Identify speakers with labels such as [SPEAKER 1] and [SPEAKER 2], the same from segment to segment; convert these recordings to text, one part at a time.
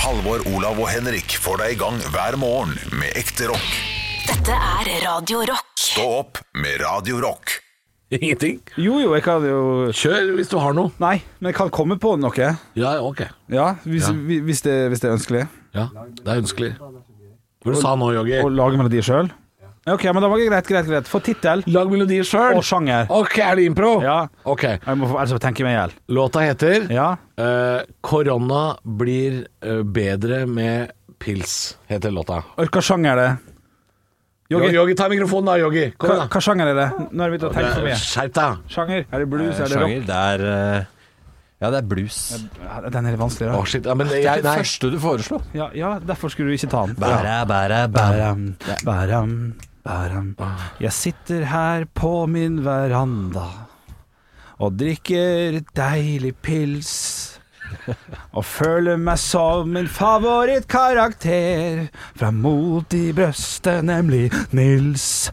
[SPEAKER 1] Halvor, Olav og Henrik får deg i gang hver morgen med ekte rock.
[SPEAKER 2] Dette er Radio Rock.
[SPEAKER 1] Stå opp med Radio Rock.
[SPEAKER 3] Ingenting?
[SPEAKER 4] Jo, jo, jeg kan jo
[SPEAKER 3] Kjør hvis du har noe.
[SPEAKER 4] Nei, men jeg kan komme på noe.
[SPEAKER 3] Ja, ok.
[SPEAKER 4] Ja, hvis,
[SPEAKER 3] Ja.
[SPEAKER 4] vi- hvis, det, hvis det er ønskelig.
[SPEAKER 3] Ja, det er ønskelig. Hva du sa nå, Joggi?
[SPEAKER 4] Å lage melodier sjøl. OK, men da var det greit, greit, greit. Få tittel
[SPEAKER 3] Lag melodier sjøl.
[SPEAKER 4] og sjanger.
[SPEAKER 3] Ok, er det impro?
[SPEAKER 4] Ja.
[SPEAKER 3] Ok.
[SPEAKER 4] Jeg må få, ellers får jeg tenke meg i hjel.
[SPEAKER 3] Låta heter
[SPEAKER 4] Ja.
[SPEAKER 3] eh, 'Korona blir eh, bedre med pils', heter låta.
[SPEAKER 4] Hva sjanger er det?
[SPEAKER 3] Joggi,
[SPEAKER 4] Joggi,
[SPEAKER 3] Joggi, ta mikrofonen da, Joggi. Kom
[SPEAKER 4] hva,
[SPEAKER 3] igjen, da.
[SPEAKER 4] hva sjanger er det? Nå har jeg begynt å tenke for mye.
[SPEAKER 3] Skjerp deg.
[SPEAKER 4] Sjanger? Er det blues? Er det rock?
[SPEAKER 5] sjanger. Det er eh, Ja, det er blues.
[SPEAKER 4] Ja, den er litt vanskelig,
[SPEAKER 3] Å,
[SPEAKER 4] da.
[SPEAKER 3] shit. Ja, men jeg, nei.
[SPEAKER 5] første du foreslo.
[SPEAKER 4] Ja, ja, derfor skulle du ikke ta den.
[SPEAKER 5] Bæra, bæra, bæra.
[SPEAKER 4] Bæram, bæram, bæram. Jeg sitter her på min veranda og drikker deilig pils. Og føler meg som min favorittkarakter fra mot i brøstet, nemlig Nils.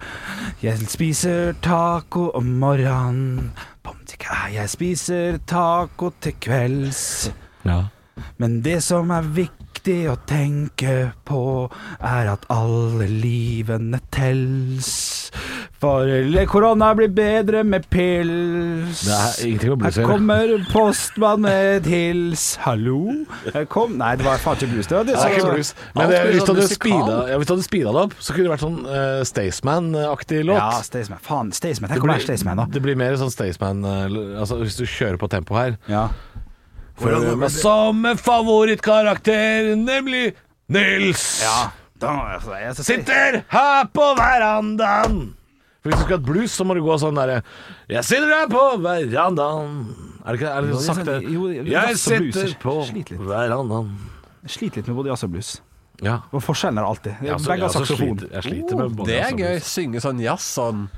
[SPEAKER 4] Jeg spiser taco om morgenen. Bom, tikka. Jeg spiser taco til kvelds.
[SPEAKER 3] Ja.
[SPEAKER 4] Men det som er viktig å tenke på, er at alle livene tels. For korona blir bedre med pils.
[SPEAKER 3] Det er ingenting med blues å
[SPEAKER 4] Her
[SPEAKER 3] gjøre.
[SPEAKER 4] kommer postmann med et hils. Hallo? Her kom Nei, det var faen ikke blues. Det var det
[SPEAKER 3] Det er ikke
[SPEAKER 4] som
[SPEAKER 3] blues. Men
[SPEAKER 5] Alt
[SPEAKER 3] eh,
[SPEAKER 5] blir
[SPEAKER 3] hvis du
[SPEAKER 5] sånn
[SPEAKER 3] hadde
[SPEAKER 5] musikal.
[SPEAKER 3] speeda ja, hvis du hadde speeda det opp, så kunne det vært sånn eh, Staysman-aktig låt.
[SPEAKER 4] Ja, Staysman. Faen, Staysman. Tenk
[SPEAKER 3] Det
[SPEAKER 4] om
[SPEAKER 3] blir-
[SPEAKER 4] det er Staysman, da.
[SPEAKER 3] Det blir mer sånn Staysman eh, altså, Hvis du kjører på tempo her
[SPEAKER 4] Ja.
[SPEAKER 3] For med samme favorittkarakter Nemlig Nils
[SPEAKER 4] Da, altså, jeg skal si-
[SPEAKER 3] Sitter her på verandaen For hvis du skal ha et blues Så må du gå sånn der Jeg sitter her på verandaen Er det ikke er det
[SPEAKER 4] Jo,
[SPEAKER 3] litt sakte?
[SPEAKER 4] det er sånn- jo, det er
[SPEAKER 3] Jeg
[SPEAKER 4] sånn blues.
[SPEAKER 3] sitter på
[SPEAKER 4] Sliter litt.
[SPEAKER 3] verandaen
[SPEAKER 4] Jeg sliter litt med både jazz og blues.
[SPEAKER 3] Ja
[SPEAKER 4] Og forskjellen er alltid.
[SPEAKER 3] Jeg også-
[SPEAKER 4] Begge har
[SPEAKER 3] jeg også
[SPEAKER 4] saksofon.
[SPEAKER 3] altså, sliter- Jeg sliter med både
[SPEAKER 5] Det
[SPEAKER 3] jazz
[SPEAKER 5] er
[SPEAKER 3] og
[SPEAKER 5] gøy.
[SPEAKER 3] blues.
[SPEAKER 5] Synge sånn jazz sånn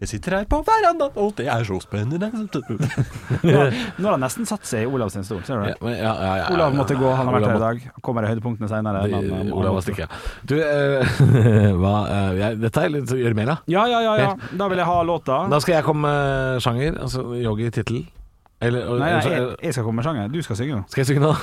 [SPEAKER 5] Jeg sitter her på verandaen, og det er så spennende.
[SPEAKER 4] Nå nå har han nesten satt seg i Olav sin stol, ser du det?
[SPEAKER 3] Ja, men- ja, ja, ja, ja, ja.
[SPEAKER 4] Olav måtte gå, han har
[SPEAKER 3] Olav
[SPEAKER 4] vært her i
[SPEAKER 3] måtte-
[SPEAKER 4] dag. Han Kommer i høydepunktene seinere.
[SPEAKER 3] Eh, Olav var stikket. Du, eh, hva, eh, jeg, dette er litt gjør mer av.
[SPEAKER 4] Ja, ja, ja, ja. Da vil jeg ha låta.
[SPEAKER 3] Da skal jeg komme med sjanger, altså yogi tittel. Eller og-
[SPEAKER 4] Nei, nei jeg,
[SPEAKER 3] eller-
[SPEAKER 4] jeg skal komme med sjanger. Du skal synge nå.
[SPEAKER 3] Skal jeg synge nå?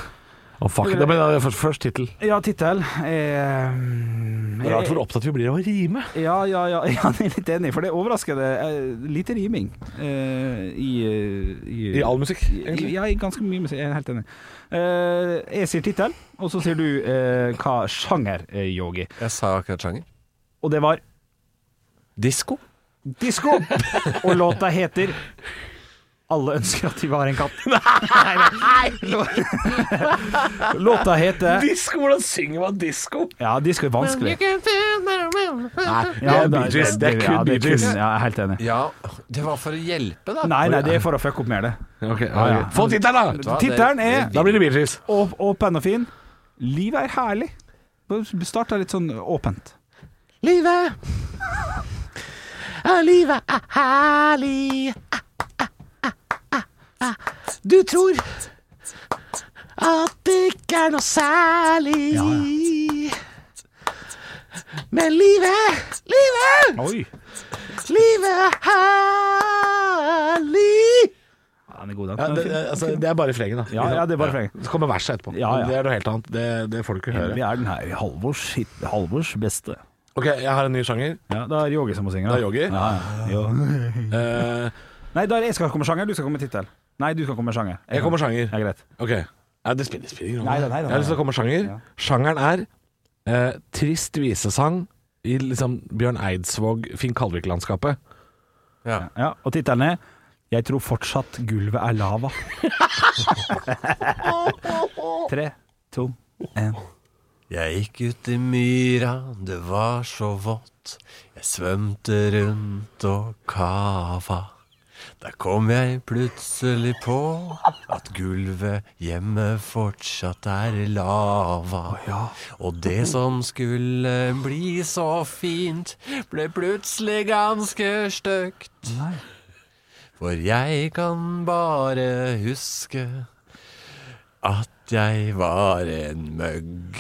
[SPEAKER 3] Å, fuck. Da blir det først, først tittel.
[SPEAKER 4] Ja, tittel er mm,
[SPEAKER 3] Rart hvor opptatt vi blir av å rime.
[SPEAKER 4] Ja, ja, ja. Jeg er litt enig, for det overrasker det. eh, Lite riming eh, i, eh,
[SPEAKER 3] I all musikk,
[SPEAKER 4] i,
[SPEAKER 3] egentlig.
[SPEAKER 4] ja, i ganske mye musikk. Jeg er helt enig. Eh, jeg sier tittel, og så sier du eh, hva sjanger, eh, Yogi.
[SPEAKER 5] Jeg sa akkurat sjanger.
[SPEAKER 4] Og det var
[SPEAKER 5] Disko.
[SPEAKER 4] Disko! Og låta heter Alle ønsker at de var en katt. Nei, nei. Låta heter
[SPEAKER 3] Disko, hvordan synger man disko?
[SPEAKER 4] Ja, disko er vanskelig.
[SPEAKER 3] Nei, det
[SPEAKER 4] Ja,
[SPEAKER 3] er Bee Gees. Det er
[SPEAKER 4] ja,
[SPEAKER 3] kun Bee Gees.
[SPEAKER 4] kun- Ja, jeg er helt enig.
[SPEAKER 5] Ja, det var for å hjelpe, da.
[SPEAKER 4] Nei, nei, det er for å fucke opp mer, det.
[SPEAKER 3] Ok, ok. Få tittelen, da!
[SPEAKER 5] Ja, det-
[SPEAKER 4] Tittelen er
[SPEAKER 3] Da blir det Bee Gees.
[SPEAKER 4] Å- Åpen og fin. Livet er herlig. Starta litt sånn åpent.
[SPEAKER 3] Livet er livet er herlig. Du tror at det ikke er noe særlig. Men livet, livet,
[SPEAKER 4] Oi!
[SPEAKER 3] livet er herlig.
[SPEAKER 4] Ja, den er god, den.
[SPEAKER 3] Ja, det, altså, det er bare flengen, da.
[SPEAKER 4] Ja, ja, det er bare flengen.
[SPEAKER 3] Så kommer verset etterpå.
[SPEAKER 4] Ja, ja.
[SPEAKER 3] Det er noe helt annet. Det, det får du ikke
[SPEAKER 4] Vi
[SPEAKER 3] høre.
[SPEAKER 4] er den her Halvors, hit- Halvors beste.
[SPEAKER 3] Ok, jeg har en ny sjanger.
[SPEAKER 4] Ja, da er det Yogi som må synge. da.
[SPEAKER 3] Det er Yogi.
[SPEAKER 4] Ja, ja. Ja.
[SPEAKER 3] Eh,
[SPEAKER 4] Nei, da er det jeg skal komme med sjanger, du skal komme med tittel. Nei, du skal komme med sjanger.
[SPEAKER 3] jeg kommer sjanger.
[SPEAKER 4] Ja, greit.
[SPEAKER 3] Ok. Ja, det spiller, det spiller ingen rolle.
[SPEAKER 4] Neida, neida,
[SPEAKER 3] Jeg har lyst til å komme med sjanger.
[SPEAKER 4] Ja.
[SPEAKER 3] Sjangeren er eh, trist visesang i liksom Bjørn Eidsvåg, Finn Kalvik-landskapet.
[SPEAKER 5] Ja.
[SPEAKER 4] Ja, og tittelen er Jeg tror fortsatt gulvet er lava. Tre, to, én.
[SPEAKER 5] Jeg gikk ut i myra, det var så vått. Jeg svømte rundt og kava. Der kom jeg plutselig på at gulvet hjemme fortsatt er lava. Og det som skulle bli så fint, ble plutselig ganske stygt. For jeg kan bare huske at at jeg var en møgg.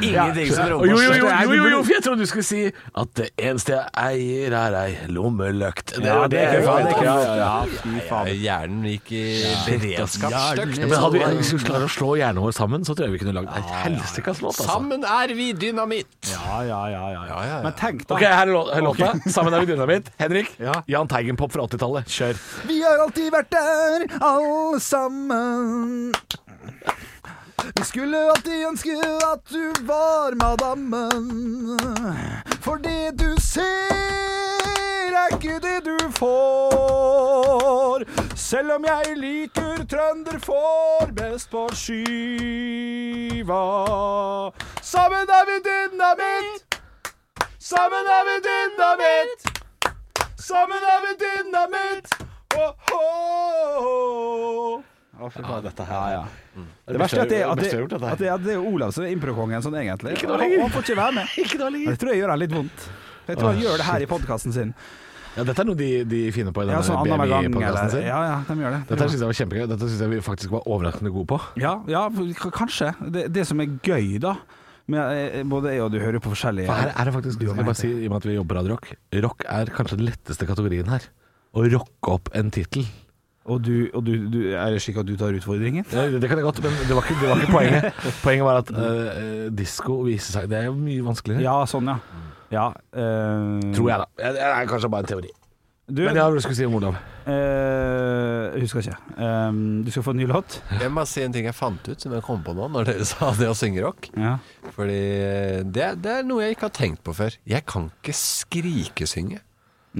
[SPEAKER 5] Ingenting som
[SPEAKER 3] Og Jo, jo, jo,
[SPEAKER 4] Det er-
[SPEAKER 3] jo, jo, jo, for jeg trodde du skulle si at det eneste jeg eier, er ei lommelykt. Det,
[SPEAKER 4] Ja,
[SPEAKER 3] var
[SPEAKER 4] det er
[SPEAKER 3] jeg
[SPEAKER 4] ikke
[SPEAKER 3] mente.
[SPEAKER 4] feil.
[SPEAKER 3] Ja, ja, ja.
[SPEAKER 4] Ja, fy faen.
[SPEAKER 5] Hjernen gikk i beredskap. Støkt.
[SPEAKER 3] Ja, men hadde vi liksom klart å slå hjernen vår sammen, så tror jeg vi kunne lagd ei helsikas låt. Altså.
[SPEAKER 5] Sammen er vi dynamitt.
[SPEAKER 4] Ja, ja, ja, ja,
[SPEAKER 5] Ja, ja, ja.
[SPEAKER 4] Men tenk da.
[SPEAKER 3] Ok, her er lå- her er låta. Sammen er vi dynamitt. Henrik,
[SPEAKER 4] Ja.
[SPEAKER 3] Jahn Teigen-pop fra 80-tallet. Kjør.
[SPEAKER 4] Vi har alltid vært der, alle sammen. Vi skulle alltid ønske at du var madammen. For det du ser, er ikke det du får. Selv om jeg liker trønder får best på skiva. Sammen er vi dynamitt. Sammen er vi dynamitt. Sammen er vi dynamitt! dette her,
[SPEAKER 3] Mm.
[SPEAKER 4] Det verste er at det, at det, at det, at det er Olav som er improkongen sånn egentlig.
[SPEAKER 3] Ikke noe
[SPEAKER 4] Han
[SPEAKER 3] lenger.
[SPEAKER 4] han får ikke være med.
[SPEAKER 3] Ikke noe lenger.
[SPEAKER 4] Det tror jeg gjør han litt vondt. Jeg tror han gjør det her i podkasten sin.
[SPEAKER 3] Ja, dette er noe de, de finner på i
[SPEAKER 4] Ja,
[SPEAKER 3] denne
[SPEAKER 4] sånn annenhver gang.
[SPEAKER 3] BMI-podkasten
[SPEAKER 4] Eller,
[SPEAKER 3] sin.
[SPEAKER 4] ja, ja, de gjør
[SPEAKER 3] Dette
[SPEAKER 4] det.
[SPEAKER 3] syns jeg var kjempegøy. Dette syns jeg vi faktisk var overraskende gode på.
[SPEAKER 4] Ja, ja k- kanskje. Det, det som er gøy, da med, eh, Både jeg og du hører jo på forskjellige
[SPEAKER 3] For her er det faktisk Jeg bare si, i og med at vi jobber på Radio Rock, rock er kanskje den letteste kategorien her. Å rocke opp en tittel.
[SPEAKER 4] Og, du, og du, du, er det slik at du tar utfordringen?
[SPEAKER 3] Ja, det kan jeg godt, men det var ikke, det var ikke poenget. Poenget var at uh, disko viser seg Det er jo mye vanskeligere.
[SPEAKER 4] Ja, sånn, ja. ja eh,
[SPEAKER 3] Tror jeg, da. Det er kanskje bare en teori.
[SPEAKER 4] Du,
[SPEAKER 3] Men ja, hva skulle du si om Olav?
[SPEAKER 4] eh, husker ikke. Eh, du skal få en ny låt.
[SPEAKER 5] Jeg må si en ting jeg fant ut som jeg kom på nå når dere sa det å synge rock.
[SPEAKER 4] Ja.
[SPEAKER 5] Fordi eh, det, det er noe jeg ikke har tenkt på før. Jeg kan ikke skrikesynge.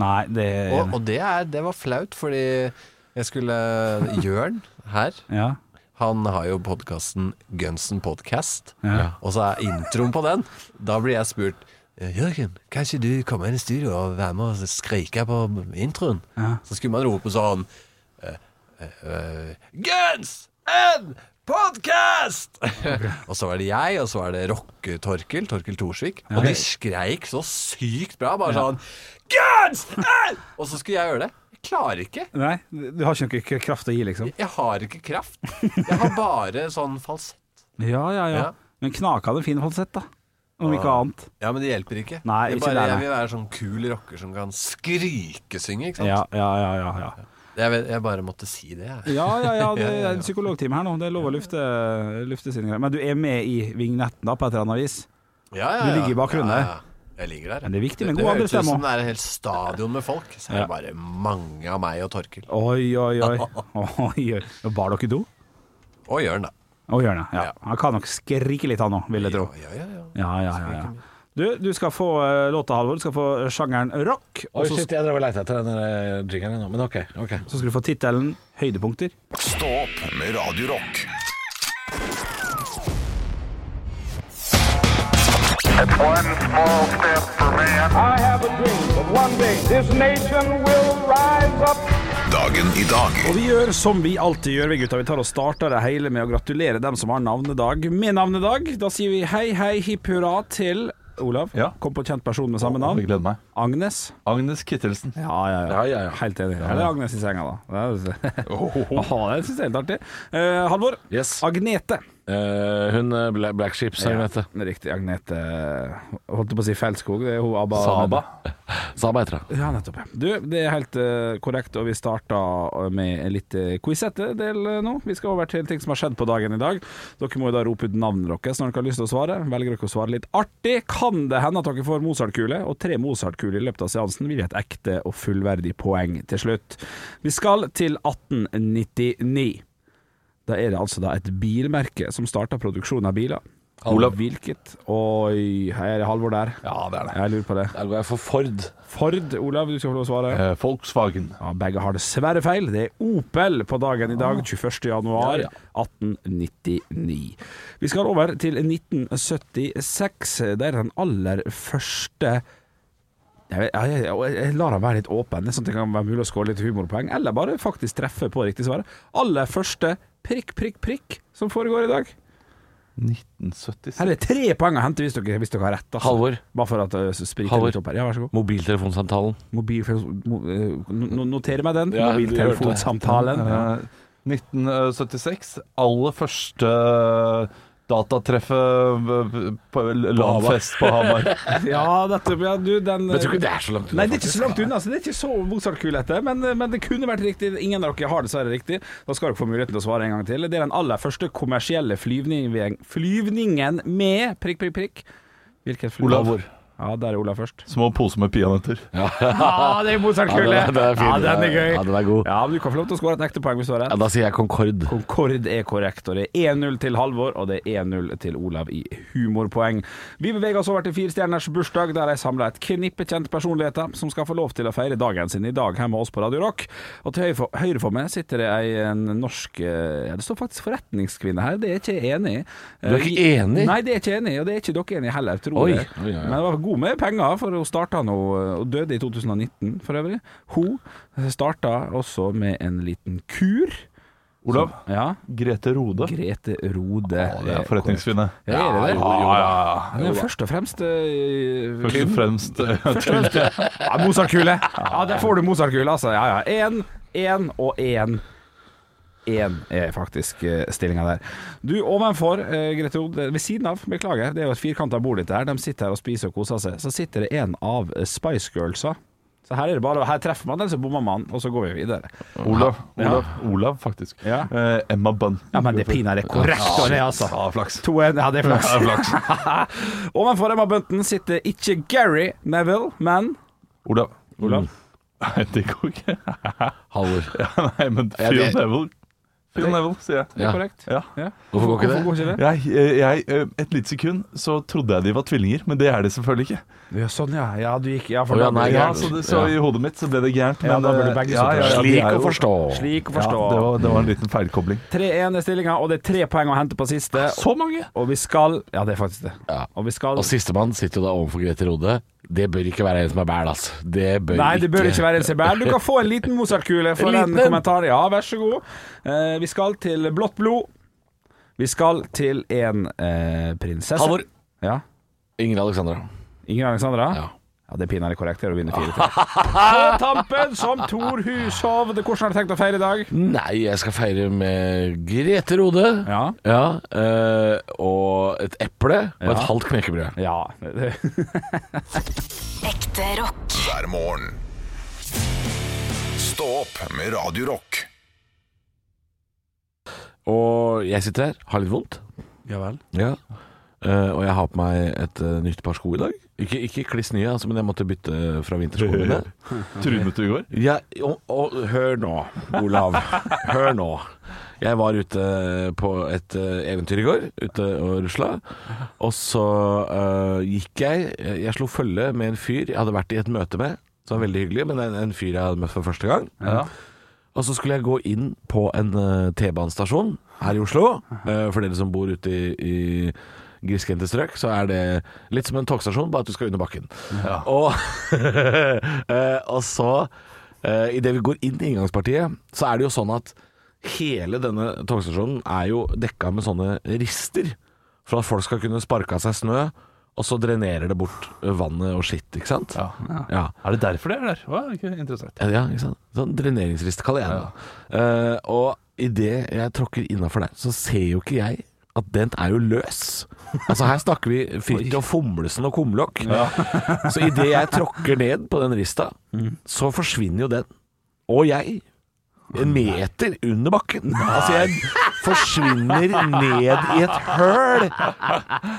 [SPEAKER 4] Nei, det er jeg
[SPEAKER 5] Og,
[SPEAKER 4] enig i.
[SPEAKER 5] og det, er, det var flaut, fordi jeg skulle Jørn her,
[SPEAKER 4] Ja.
[SPEAKER 5] han har jo podkasten Gunsen Podcast.
[SPEAKER 4] Ja.
[SPEAKER 5] Og så er introen på den. Da blir jeg spurt "Eh, Jørgen, kan ikke du komme inn i studio og være med og skrike på introen?
[SPEAKER 4] Ja.
[SPEAKER 5] Så skulle man rope sånn eh, eh, eh, Guns and Podcast! og så var det jeg, og så var det Rocke-Torkel, Torkel Thorsvik. Og de skreik så sykt bra, bare sånn Guns and Og så skulle jeg gjøre det. Jeg klarer ikke.
[SPEAKER 4] Nei, du har ikke noe kraft å gi, liksom?
[SPEAKER 5] Jeg har ikke kraft. Jeg har bare sånn falsett.
[SPEAKER 4] Ja, ja, ja.
[SPEAKER 5] Ja.
[SPEAKER 4] Men Knaka hadde fin falsett, da. Om ikke annet.
[SPEAKER 5] Ja, men det hjelper ikke.
[SPEAKER 4] Nei,
[SPEAKER 5] det er
[SPEAKER 4] ikke
[SPEAKER 5] bare,
[SPEAKER 4] det, nei.
[SPEAKER 5] jeg vil være sånn kul rocker som kan skrikesynge, ikke sant.
[SPEAKER 4] Ja, ja, ja. ja, ja.
[SPEAKER 5] Jeg, vet, jeg bare måtte si det, jeg.
[SPEAKER 4] Ja, ja, ja, det er en psykologtime her nå. Det er lov å lufte, lufte sine greier. Men du er med i vignetten da, på et eller annet vis?
[SPEAKER 5] Ja, ja,
[SPEAKER 4] Du
[SPEAKER 5] ja.
[SPEAKER 4] ligger i bakgrunnen
[SPEAKER 5] Ja, ja. Jeg ligger der. ja.
[SPEAKER 4] Men det er viktig med
[SPEAKER 5] det,
[SPEAKER 4] god
[SPEAKER 5] det høres
[SPEAKER 4] andrestemme
[SPEAKER 5] ut som
[SPEAKER 4] også.
[SPEAKER 5] det er et helt stadion med folk. Så er det
[SPEAKER 4] Ja.
[SPEAKER 5] bare mange av meg og Torkel.
[SPEAKER 4] Oi, oi, oi. oi, oi. Bar dere do?
[SPEAKER 5] Og Jørn, da.
[SPEAKER 4] Å, Jørne. Ja.
[SPEAKER 5] Ja.
[SPEAKER 4] Han kan nok skrike litt, han òg, vil jeg tro.
[SPEAKER 5] Ja, ja, ja.
[SPEAKER 4] Ja, ja, ja. ja. Du, du skal få eh, låta, Halvor. Du skal få eh, sjangeren rock.
[SPEAKER 3] Oi,
[SPEAKER 4] Og så,
[SPEAKER 3] shit, jeg drev og leita etter den der jingeren nå, men OK. ok
[SPEAKER 4] så skal du få tittelen 'Høydepunkter'.
[SPEAKER 1] Stå opp med Radio Rock.
[SPEAKER 6] One small step for man. I have a dream that one day this nation will rise up.
[SPEAKER 1] Dagen i dag
[SPEAKER 4] Og vi gjør som vi alltid gjør, vi gutta. Vi tar og starter det hele med å gratulere dem som har navnedag med navnedag. Da sier vi hei, hei, hipp hurra til Olav.
[SPEAKER 7] Ja.
[SPEAKER 4] Kom på kjent person med samme
[SPEAKER 7] Jeg
[SPEAKER 4] navn.
[SPEAKER 7] gleder meg.
[SPEAKER 4] Agnes.
[SPEAKER 7] Agnes Kittelsen.
[SPEAKER 4] Ja, ja, ja.
[SPEAKER 3] Ja, ja, ja.
[SPEAKER 4] Helt enig. Eller Agnes i senga, da. Det er- Åh, det syns jeg er helt artig. Eh, Halvor.
[SPEAKER 3] Yes.
[SPEAKER 4] Agnete.
[SPEAKER 3] Eh, hun eh, Bla Black Sheep, sa hun heter.
[SPEAKER 4] Ja, Riktig. Agnete Holdt jeg på å si Feldskog. Det er hun Abba
[SPEAKER 7] Saba.
[SPEAKER 3] Saba heter hun.
[SPEAKER 4] Ja, nettopp. ja. Du, det er helt eh, korrekt, og vi starta med en litt eh, quizette del eh, nå. Vi skal over til ting som har skjedd på dagen i dag. Dere må jo da rope ut navnet deres når dere har lyst til å svare. Velger dere å svare litt artig, kan det hende at dere får Mozart-kule, og tre Mozart-kuler i løpet av seansen vil gi et ekte og fullverdig poeng til slutt. Vi skal til 1899. Da er det altså da et bilmerke som starta produksjon av biler.
[SPEAKER 7] Olav.
[SPEAKER 4] Hvilket? Oi, her er det Halvor der.
[SPEAKER 7] Ja, det er det.
[SPEAKER 4] Jeg lurer på det.
[SPEAKER 3] Der går jeg for Ford.
[SPEAKER 4] Ford, Olav, du skal få lov å svare.
[SPEAKER 7] Eh, Volkswagen.
[SPEAKER 4] Ja, begge har dessverre feil. Det er Opel på dagen i dag, 21. januar
[SPEAKER 3] Ah. Ja, ja.
[SPEAKER 4] 1899. Vi skal over til 1976. Det er den aller første jeg, vet- jeg, jeg, jeg lar han være litt åpen, sånn at det kan være mulig å skåre litt humorpoeng. Eller bare faktisk treffe på riktig svar. Aller første prikk, prikk, prikk som foregår i dag.
[SPEAKER 7] 1976.
[SPEAKER 4] Her er det tre poeng å hente hvis dere, hvis dere har rett. altså.
[SPEAKER 3] Halvor.
[SPEAKER 4] Bare for at det spriker
[SPEAKER 3] Halvor.
[SPEAKER 4] litt opp her. Ja, vær så god.
[SPEAKER 3] Mobiltelefonsamtalen.
[SPEAKER 4] Mobiltelefon... Mo, eh, no- no- notere meg
[SPEAKER 3] Ja,
[SPEAKER 4] den.
[SPEAKER 3] du hørte det.
[SPEAKER 4] Mobiltelefonsamtalen.
[SPEAKER 7] Eh, 1976. Aller første eh, datatreffet eh, på LAN-fest på Hamar.
[SPEAKER 4] Ja, nettopp. Ja, du, den eh,
[SPEAKER 3] Men jeg tror ikke det er så langt unna.
[SPEAKER 4] Nei, det er ikke
[SPEAKER 3] faktisk.
[SPEAKER 4] så langt unna, så det er ikke så mozartkul dette. Men, eh, men det kunne vært riktig. Ingen av dere har dessverre riktig. Da skal dere få muligheten til å svare en gang til. Det er den aller første kommersielle flyvningen, flyvningen med prikk, prikk, prikk. Hvilket fly?
[SPEAKER 7] Olav.
[SPEAKER 4] Ja, der er Olav først.
[SPEAKER 7] Små poser med peanøtter.
[SPEAKER 4] Ja, det er mozartkule!
[SPEAKER 3] Ja, den er- den er fin.
[SPEAKER 4] Ja, den er gøy.
[SPEAKER 3] Ja, den er god.
[SPEAKER 4] Ja, men du kan få lov til å skåre et ekte poeng hvis du har
[SPEAKER 3] Ja,
[SPEAKER 4] rett.
[SPEAKER 3] da sier jeg Concorde.
[SPEAKER 4] Kord er korrekt, og det er 1-0 til Halvor, og det er 1-0 til Olav i humorpoeng. Vi beveger oss over til Fire stjerners bursdag, der jeg samler et knippe kjente personligheter som skal få lov til å feire dagen sin i dag hjemme hos oss på Radio Rock. Og til høyre for, høyre for meg sitter det ei en norsk eh, Ja, det står faktisk forretningskvinne her, det er jeg ikke enig i.
[SPEAKER 3] Du er ikke enig?
[SPEAKER 4] Nei, det er ikke enig, i, og det er ikke dere enig i heller, tror
[SPEAKER 3] Oi.
[SPEAKER 4] jeg.
[SPEAKER 3] Oi, oi, oi.
[SPEAKER 4] Men det var god med penger, for hun starta nå, og døde i 2019 for øvrig. Hun starta også med en liten kur.
[SPEAKER 7] Olav,
[SPEAKER 4] Ja,
[SPEAKER 7] Grete Rode.
[SPEAKER 4] Grete Rode.
[SPEAKER 7] Ja, det er forretningskvinne.
[SPEAKER 4] Ja, er det det?
[SPEAKER 7] Ja, ja, ja.
[SPEAKER 4] Han er først og fremst eh,
[SPEAKER 7] Først og fremst eh,
[SPEAKER 4] ja, Mozart-kule. Ja, der får du Mozart-kule, altså. Ja, ja. Én, én og én. Én er faktisk uh, stillinga der. Du, ovenfor, eh, Grete Rode, ved siden av, beklager, det er jo et firkanta bord dette her, de sitter her og spiser og koser seg, så sitter det en av eh, Spice Girlsa. Så her er det bare, her treffer man den, så bommer man, og så går vi videre.
[SPEAKER 7] Olav, Olav, Olav faktisk.
[SPEAKER 4] Ja.
[SPEAKER 7] Eh, Emma Bunn.
[SPEAKER 4] Ja, men det pinadø er korrekt, og det, altså.
[SPEAKER 7] Ja, flaks.
[SPEAKER 4] To en, ja, det er flaks. Ovenfor Emma Bunten sitter ikke Gary Neville, men
[SPEAKER 7] Olav.
[SPEAKER 4] Mm. Olav.
[SPEAKER 7] Nei, det går ikke.
[SPEAKER 3] Halvor.
[SPEAKER 7] Ja, nei, men
[SPEAKER 3] Ja,
[SPEAKER 7] Phil
[SPEAKER 3] det-
[SPEAKER 7] Neville. Phil Neville, sier jeg.
[SPEAKER 4] Det
[SPEAKER 3] Ja.
[SPEAKER 4] er korrekt.
[SPEAKER 7] Ja.
[SPEAKER 4] Ja.
[SPEAKER 3] Hvorfor går ikke det?
[SPEAKER 4] ikke
[SPEAKER 7] Jeg, eh, jeg, eh, et lite sekund så trodde jeg de var tvillinger, men det er de selvfølgelig ikke.
[SPEAKER 4] Ja, sånn, ja. Ja, du gikk Ja, for
[SPEAKER 3] Å, ja,
[SPEAKER 4] da ble
[SPEAKER 3] nei,
[SPEAKER 4] det
[SPEAKER 7] Ja,
[SPEAKER 3] gærent.
[SPEAKER 7] så, det, så i hodet mitt så ble det gærent.
[SPEAKER 4] Ja, da
[SPEAKER 7] men,
[SPEAKER 4] ble det
[SPEAKER 7] eh,
[SPEAKER 4] begge
[SPEAKER 7] ja,
[SPEAKER 4] sorter.
[SPEAKER 7] ja, ja, de
[SPEAKER 3] Slik
[SPEAKER 7] er
[SPEAKER 3] å
[SPEAKER 7] jo-
[SPEAKER 3] forstå.
[SPEAKER 4] Slik å
[SPEAKER 7] Ja,
[SPEAKER 4] forstå.
[SPEAKER 7] det var, det var en liten feilkobling.
[SPEAKER 4] 3-1 er stillinga, og det er tre poeng å hente på siste.
[SPEAKER 7] Så mange!
[SPEAKER 4] Og vi skal Ja, det er faktisk det.
[SPEAKER 3] Ja.
[SPEAKER 4] Og vi skal
[SPEAKER 3] Og sistemann sitter jo da overfor Grete Rode. Det bør ikke være en som er bæl, altså. Det bør
[SPEAKER 4] Nei, det bør ikke være en CBR. Du kan få en liten Mozart-kule for
[SPEAKER 3] En liten
[SPEAKER 4] den
[SPEAKER 3] en.
[SPEAKER 4] kommentaren. Ja, vær så god. Eh, vi skal til blått blod. Vi skal til en eh, prinsesse.
[SPEAKER 3] Halvor.
[SPEAKER 4] Ja.
[SPEAKER 3] Ingrid Alexandra.
[SPEAKER 4] Ingrid Alexandra?
[SPEAKER 3] Ja.
[SPEAKER 4] Ja, Det er pinadø korrekt det er å vinne 4-3. På tampen, som Thor Hushov. Det- Hvordan har du tenkt å feire i dag?
[SPEAKER 3] Nei, jeg skal feire med Grete Rode.
[SPEAKER 4] Ja.
[SPEAKER 3] eh, og et eple og et halvt knekkebrød.
[SPEAKER 4] Ja. det-
[SPEAKER 2] Ekte rock.
[SPEAKER 1] hver morgen. Stå opp med Radio Rock.
[SPEAKER 3] Og jeg sitter her, har litt vondt.
[SPEAKER 4] Ja vel.
[SPEAKER 3] Ja. Eh, og jeg har på meg et eh, nytt par sko i dag. Ikke, ikke kliss nye, altså, men jeg måtte bytte fra vinterskoene mine.
[SPEAKER 7] Trynet du i går?
[SPEAKER 3] Ja, og, og hør nå, Olav. Hør nå. Jeg var ute på et eh, eventyr i går, ute og rusla. Og så eh, gikk jeg Jeg slo følge med en fyr jeg hadde vært i et møte med. Som var veldig hyggelig, men en, en fyr jeg hadde møtt for første gang. Og så skulle jeg gå inn på en eh, T-banestasjon her i Oslo. Eh, for dere som bor ute i, i grisgrendte strøk, så er det litt som en togstasjon, bare at du skal under bakken. Og, eh, og så, uh, idet vi går inn i inngangspartiet, så er det jo sånn at hele denne togstasjonen er jo dekka med sånne rister. For at folk skal kunne sparke av seg snø, og så drenerer det bort eh, vannet og skitt, ikke sant?
[SPEAKER 7] Ja.
[SPEAKER 3] ja.
[SPEAKER 7] Er det derfor det er der? Å, ikke interessant.
[SPEAKER 3] Ja, ja, ikke sant? Sånn dreneringsrist kaller jeg det. Eh, og idet jeg tråkker innafor der, så ser jo ikke jeg at den er jo løs. Altså Her snakker vi Firti og Fomlesen og kumlokk. så idet jeg tråkker ned på den rista, så forsvinner jo den. Og jeg. En meter under bakken. Altså, jeg forsvinner ned i et høl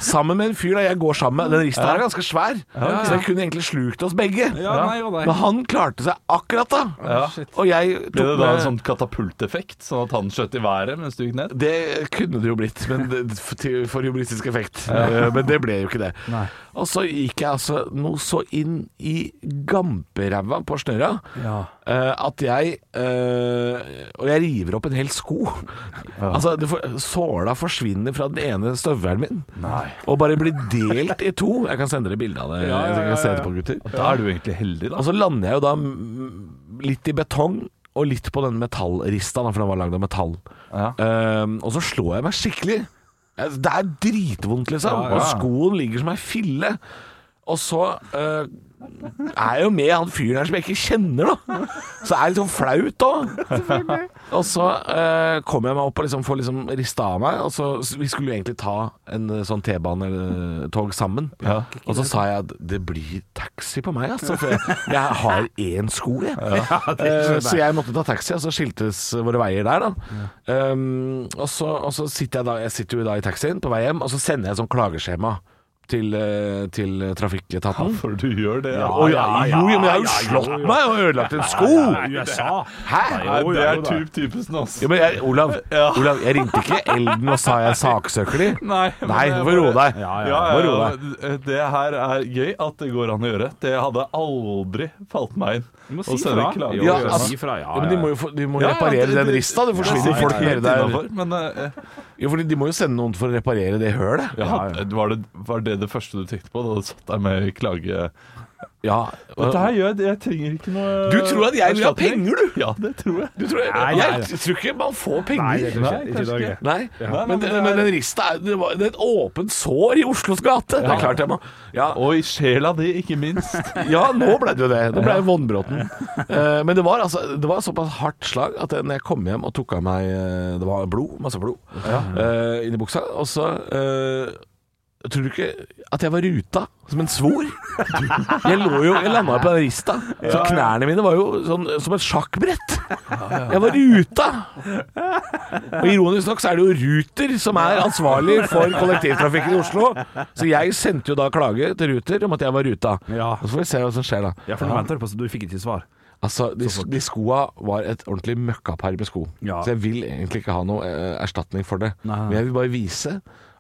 [SPEAKER 3] sammen med en fyr da jeg går sammen med. Den rista her er ganske svær, så den kunne egentlig slukt oss begge.
[SPEAKER 4] Ja, nei og nei.
[SPEAKER 3] Men han klarte seg akkurat da. Og jeg tok
[SPEAKER 7] Ble det da
[SPEAKER 3] med-
[SPEAKER 7] en sånn katapulteffekt, sånn at han skjøt i været mens du gikk ned?
[SPEAKER 3] Det kunne det jo blitt, men det, for, til- for humoristisk effekt. Eh, Men det ble jo ikke det. Og så gikk jeg altså noe så inn i gamperæva på snørra eh, at jeg eh, Og jeg river opp en hel sko. Altså, det for, såla forsvinner fra den ene støvelen min og bare blir delt i to. Jeg kan sende dere bilde av det.
[SPEAKER 4] ja, ja,
[SPEAKER 3] Jeg kan se
[SPEAKER 4] ja.
[SPEAKER 3] det på, gutter.
[SPEAKER 7] Da er du egentlig heldig, da.
[SPEAKER 3] Og så lander jeg jo da mm, litt i betong og litt på den metallrista, da, for den var lagd av metall.
[SPEAKER 7] Ja.
[SPEAKER 3] Ehm, og så slår jeg meg skikkelig. Jeg- Det er dritvondt, liksom.
[SPEAKER 7] Ja, ja.
[SPEAKER 3] Og skoen ligger som ei fille. Og så eh, er jo med han fyren her som jeg ikke kjenner, da. Så det er litt sånn flaut òg. Og så eh, kom jeg meg opp og liksom får liksom rista av meg. Og så, så vi skulle jo egentlig ta en eh, sånn T-bane eller tog sammen. Og så sa jeg at det blir taxi på meg, altså. For jeg, jeg har én sko, jeg. Eh, så jeg måtte ta taxi, og så skiltes våre veier der, da. Um, og, så, og så sitter jeg da Jeg sitter jo da i taxien på vei hjem, og så sender jeg sånn klageskjema til, eh, til trafikketaten.
[SPEAKER 7] For du gjør det,
[SPEAKER 3] Ja,
[SPEAKER 7] ja.
[SPEAKER 3] ja, jo, jo, men jeg har jo slått meg og ødelagt en sko!
[SPEAKER 4] USA!
[SPEAKER 3] Hæ?
[SPEAKER 7] Nei,
[SPEAKER 4] Jo,
[SPEAKER 7] det
[SPEAKER 4] ja,
[SPEAKER 7] er
[SPEAKER 4] jo da.
[SPEAKER 7] typ typesen, ass.
[SPEAKER 3] Ja, men jeg, Olav, Olav, jeg ringte ikke Elden og sa jeg saksøker de.
[SPEAKER 7] Nei, men
[SPEAKER 3] Nei, du
[SPEAKER 7] det er
[SPEAKER 3] får roe
[SPEAKER 7] bare-
[SPEAKER 3] deg.
[SPEAKER 7] Ja,
[SPEAKER 4] Ja,
[SPEAKER 7] ja,
[SPEAKER 3] Må roe
[SPEAKER 7] ja, eh, Det her er gøy at det går an å gjøre. Det hadde aldri falt meg inn.
[SPEAKER 4] Du må
[SPEAKER 7] å
[SPEAKER 4] si
[SPEAKER 7] sende
[SPEAKER 4] fra.
[SPEAKER 7] klage.
[SPEAKER 4] Jo,
[SPEAKER 3] Ja,
[SPEAKER 4] jo,
[SPEAKER 3] altså-
[SPEAKER 4] si fra. Ja,
[SPEAKER 3] Ja, men de må jo, få- de må jo reparere den rista. Det forsvinner
[SPEAKER 7] ja,
[SPEAKER 3] folk
[SPEAKER 7] ja,
[SPEAKER 3] nede der.
[SPEAKER 7] Men eh,
[SPEAKER 3] Jo, fordi de må jo sende noen for å reparere det hølet.
[SPEAKER 7] ja, Var, det, var det det første du tenkte på da du satt der med klage...?
[SPEAKER 3] Ja.
[SPEAKER 7] Dette her gjør jeg, jeg trenger ikke noe
[SPEAKER 3] Du tror at jeg vil ha
[SPEAKER 7] erstatning.
[SPEAKER 3] penger, du?
[SPEAKER 7] Ja, det tror jeg.
[SPEAKER 3] Du tror jeg,
[SPEAKER 4] Nei, nei, nei.
[SPEAKER 3] jeg tror ikke man får penger.
[SPEAKER 4] Nei, det tror jeg
[SPEAKER 7] Nei,
[SPEAKER 4] ikke. Ikke i
[SPEAKER 7] kanskje
[SPEAKER 4] Norge.
[SPEAKER 7] ikke.
[SPEAKER 3] Nei,
[SPEAKER 7] Nei,
[SPEAKER 3] men,
[SPEAKER 7] nei,
[SPEAKER 3] den- men den rista er, det var, det er et åpent sår i Oslos gate. Det er klart jeg må ja,
[SPEAKER 7] Og i sjela di, ikke minst.
[SPEAKER 3] ja, nå ble det jo det. Nå ble jeg vondbråten. Eh, Men det var, altså, det var såpass hardt slag at når jeg kom hjem og tok av meg eh, Det var blod, masse blod, eh, inni buksa. Og så eh, Tror du ikke at jeg var ruta som en svor? Jeg lå jo, jeg landa på den rista, så knærne mine var jo sånn, som et sjakkbrett. Jeg var ruta! Og ironisk nok så er det jo Ruter som er ansvarlig for kollektivtrafikken i Oslo. Så jeg sendte jo da klage til Ruter om at jeg var ruta.
[SPEAKER 4] Ja.
[SPEAKER 3] Og så får vi se hva som skjer, da.
[SPEAKER 4] Ja, for noen venter på så du fikk ikke svar.
[SPEAKER 3] Altså, de, de skoa var et ordentlig møkkapar med sko.
[SPEAKER 4] Ja.
[SPEAKER 3] Så jeg vil egentlig ikke ha noe eh, erstatning for det.
[SPEAKER 4] Nei.
[SPEAKER 3] Men jeg vil bare vise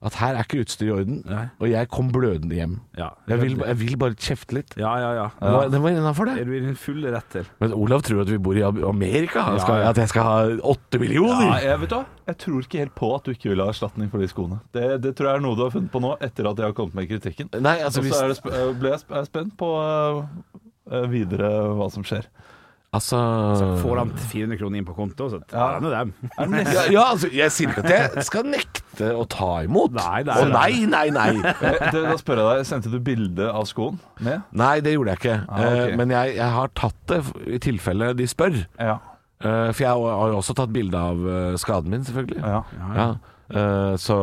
[SPEAKER 3] at her er ikke utstyret i orden,
[SPEAKER 4] Nei.
[SPEAKER 3] og jeg kom blødende hjem.
[SPEAKER 4] Ja.
[SPEAKER 3] Jeg vil, jeg vil bare kjefte litt.
[SPEAKER 4] Ja, ja, ja.
[SPEAKER 3] Det var, det var innafor,
[SPEAKER 4] Er
[SPEAKER 3] det.
[SPEAKER 4] du i din fulle rett til?
[SPEAKER 3] Men Olav tror at vi bor i Am- Amerika. Han skal,
[SPEAKER 4] Ja, ja.
[SPEAKER 3] At jeg skal ha åtte millioner.
[SPEAKER 7] Ja, jeg, vet du, hva? jeg tror ikke helt på at du ikke vil ha erstatning for de skoene. Det, det tror jeg er noe du har funnet på nå, etter at jeg har kommet med kritikken.
[SPEAKER 3] Nei, altså,
[SPEAKER 7] Og
[SPEAKER 3] hvis,
[SPEAKER 7] så er det sp eh, ble jeg sp er spent på eh, videre hva som skjer.
[SPEAKER 3] altså
[SPEAKER 4] Får han 400 kroner inn på konto, så tar han jo dem.
[SPEAKER 3] ja, ja, altså, jeg sier ikke at jeg skal nekte å ta imot.
[SPEAKER 4] Nei, nei,
[SPEAKER 3] Å nei, nei, nei.
[SPEAKER 7] Eh, det, da spør jeg deg, Sendte du bilde av skoen med?
[SPEAKER 3] Nei, det gjorde jeg ikke.
[SPEAKER 7] ok.
[SPEAKER 3] Eh, Men jeg, jeg har tatt det i tilfelle de spør.
[SPEAKER 7] Ja.
[SPEAKER 3] Eh, For jeg har jo også tatt bilde av eh, skaden min, selvfølgelig.
[SPEAKER 7] ja.
[SPEAKER 3] Ja. Eh, så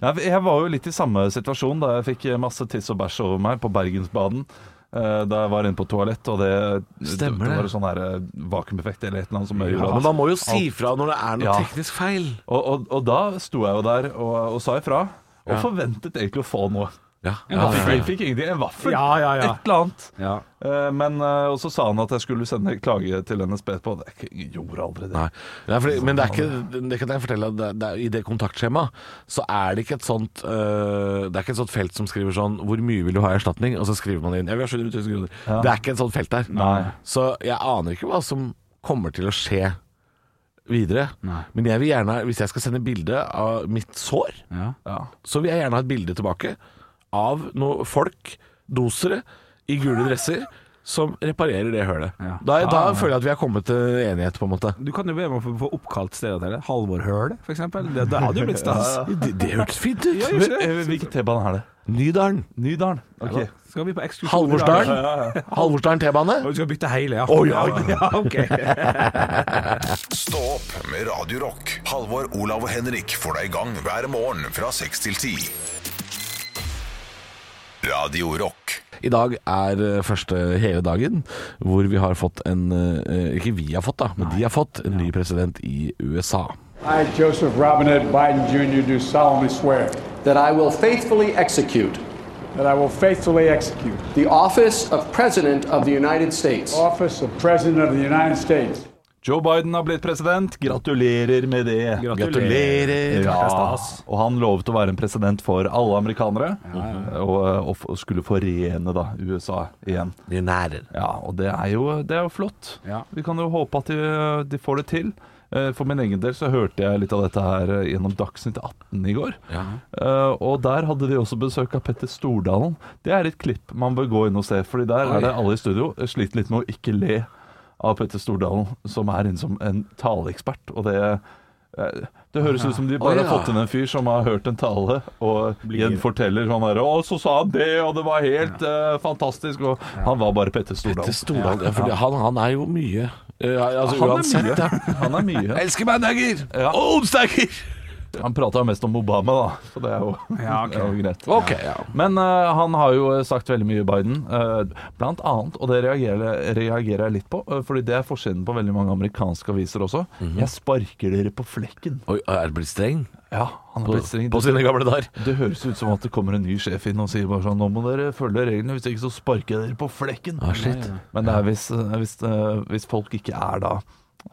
[SPEAKER 7] Nei, Jeg var jo litt i samme situasjon da jeg fikk masse tiss og bæsj over meg på Bergensbaden. eh, Da jeg var inne på toalett, og det
[SPEAKER 3] Stemmer
[SPEAKER 7] det.
[SPEAKER 3] det.
[SPEAKER 7] var en sånn her eh, vakuumeffekt eller et eller annet som gjorde
[SPEAKER 3] Men
[SPEAKER 7] at-
[SPEAKER 3] man må jo si fra når det er noe
[SPEAKER 7] Ja.
[SPEAKER 3] teknisk feil.
[SPEAKER 7] og, og, og da sto jeg jo der og, og sa ifra, og
[SPEAKER 3] Ja.
[SPEAKER 7] forventet egentlig å få noe.
[SPEAKER 3] Ja,
[SPEAKER 7] Ja,
[SPEAKER 3] ja,
[SPEAKER 7] fikk,
[SPEAKER 3] ja.
[SPEAKER 7] fikk ingenting. En vaffel.
[SPEAKER 4] Ja, ja, ja.
[SPEAKER 7] Et eller annet.
[SPEAKER 4] Ja.
[SPEAKER 7] Eh, Men, eh, og så sa han at jeg skulle sende klage til NSB på det. Jeg gjorde aldri det.
[SPEAKER 3] Nei. Nei, fordi, men det er ikke det kan jeg fortelle at det, det, er- I det kontaktskjemaet så er det ikke et sånt øh, Det er ikke et sånt felt som skriver sånn 'Hvor mye vil du ha i erstatning?' Og så skriver man inn 'Jeg vil ha 700 000 kroner'. Det er ikke et sånt felt der.
[SPEAKER 7] Nei.
[SPEAKER 3] Så jeg aner ikke hva som kommer til å skje videre. Men jeg vil gjerne, hvis jeg skal sende bilde av mitt sår,
[SPEAKER 4] Ja.
[SPEAKER 7] Ja.
[SPEAKER 3] så vil jeg gjerne ha et bilde tilbake av noen folk, dosere, i gule dresser, som reparerer det hølet.
[SPEAKER 4] Ja.
[SPEAKER 3] Da, da føler jeg at vi har kommet til enighet, på en måte.
[SPEAKER 4] Du kan jo be om å få- få oppkalt stedet til det. Halvor Høl, for eksempel. Det, det hadde jo blitt stas.
[SPEAKER 3] Det, det hørtes fint ut.
[SPEAKER 4] gjør ikke det?
[SPEAKER 7] Eh, Hvilken T-bane er det?
[SPEAKER 3] Nydalen.
[SPEAKER 7] Nydalen. Ok.
[SPEAKER 4] Skal vi på ekskursjon? i dag?
[SPEAKER 3] Halvorsdalen. Halvorsdalen T-bane.
[SPEAKER 4] Og Du skal bytte hele, ja.
[SPEAKER 3] Oi, oi, oi.
[SPEAKER 4] ja, ok.
[SPEAKER 1] Stå opp med Radio Rock. Halvor, Olav og Henrik får deg i gang hver morgen fra 6 til 10. Radio Rock.
[SPEAKER 3] I dag er eh, første hele dagen hvor vi har fått en eh, Ikke vi har fått, da, men de har fått en ny president i USA.
[SPEAKER 8] I, Joseph Robinette Biden Jr., do solemnly swear
[SPEAKER 9] That I will faithfully execute
[SPEAKER 8] that I will faithfully execute
[SPEAKER 9] the office of President of the United States.
[SPEAKER 8] the office of President of the United States.
[SPEAKER 7] Joe Biden har blitt president. Gratulerer med det.
[SPEAKER 3] Gratulerer.
[SPEAKER 7] Ja. Og han lovet å være en president for alle amerikanere. eh, Og, og f- og skulle forene da USA igjen.
[SPEAKER 3] De nærer.
[SPEAKER 7] Ja, og det er jo, det er jo flott.
[SPEAKER 4] Ja.
[SPEAKER 7] Vi kan jo håpe at de, de får det til. Eh, For min egen del så hørte jeg litt av dette her eh, gjennom Dagsnytt 18 i går. Eh, Og der hadde de også besøk av Petter Stordalen. Det er et klipp man bør gå inn og se, fordi der er det alle i studio eh, sliter litt med å ikke le av Petter Stordalen, som er inne som en taleekspert. Og det Eh, Det høres ut som de
[SPEAKER 3] Å,
[SPEAKER 7] bare
[SPEAKER 3] ja.
[SPEAKER 7] har fått inn en fyr som har hørt en tale, og igjen forteller sånn her Og så sa han det, og det var helt eh, fantastisk, og han var bare Petter Stordalen.
[SPEAKER 3] Til Stordalen. Ja, for det- han, han er jo mye eh, altså,
[SPEAKER 7] Han er
[SPEAKER 3] Uansett,
[SPEAKER 7] mye.
[SPEAKER 3] da.
[SPEAKER 7] Han er mye.
[SPEAKER 3] Elsker mandager!
[SPEAKER 7] Ja.
[SPEAKER 3] Og onsdager!
[SPEAKER 7] Han prata mest om Obama, da, så det er jo,
[SPEAKER 4] Ja, ok.
[SPEAKER 7] det er jo greit.
[SPEAKER 3] Ok, ja.
[SPEAKER 7] Men eh, han har jo sagt veldig mye, Biden. eh, blant annet, og det reagerer, reagerer jeg litt på, eh, fordi det er forskjellen på veldig mange amerikanske aviser også. Jeg sparker dere på flekken.
[SPEAKER 3] Oi, er det blitt streng?
[SPEAKER 7] Ja, han har
[SPEAKER 3] På,
[SPEAKER 7] blitt streng.
[SPEAKER 3] på sine gamle dager.
[SPEAKER 7] Det høres ut som at det kommer en ny sjef inn og sier bare sånn Nå må dere følge reglene, hvis ikke så sparker jeg dere på flekken.
[SPEAKER 3] Ah, shit.
[SPEAKER 7] Men det er hvis, eh, hvis, hvis folk ikke er da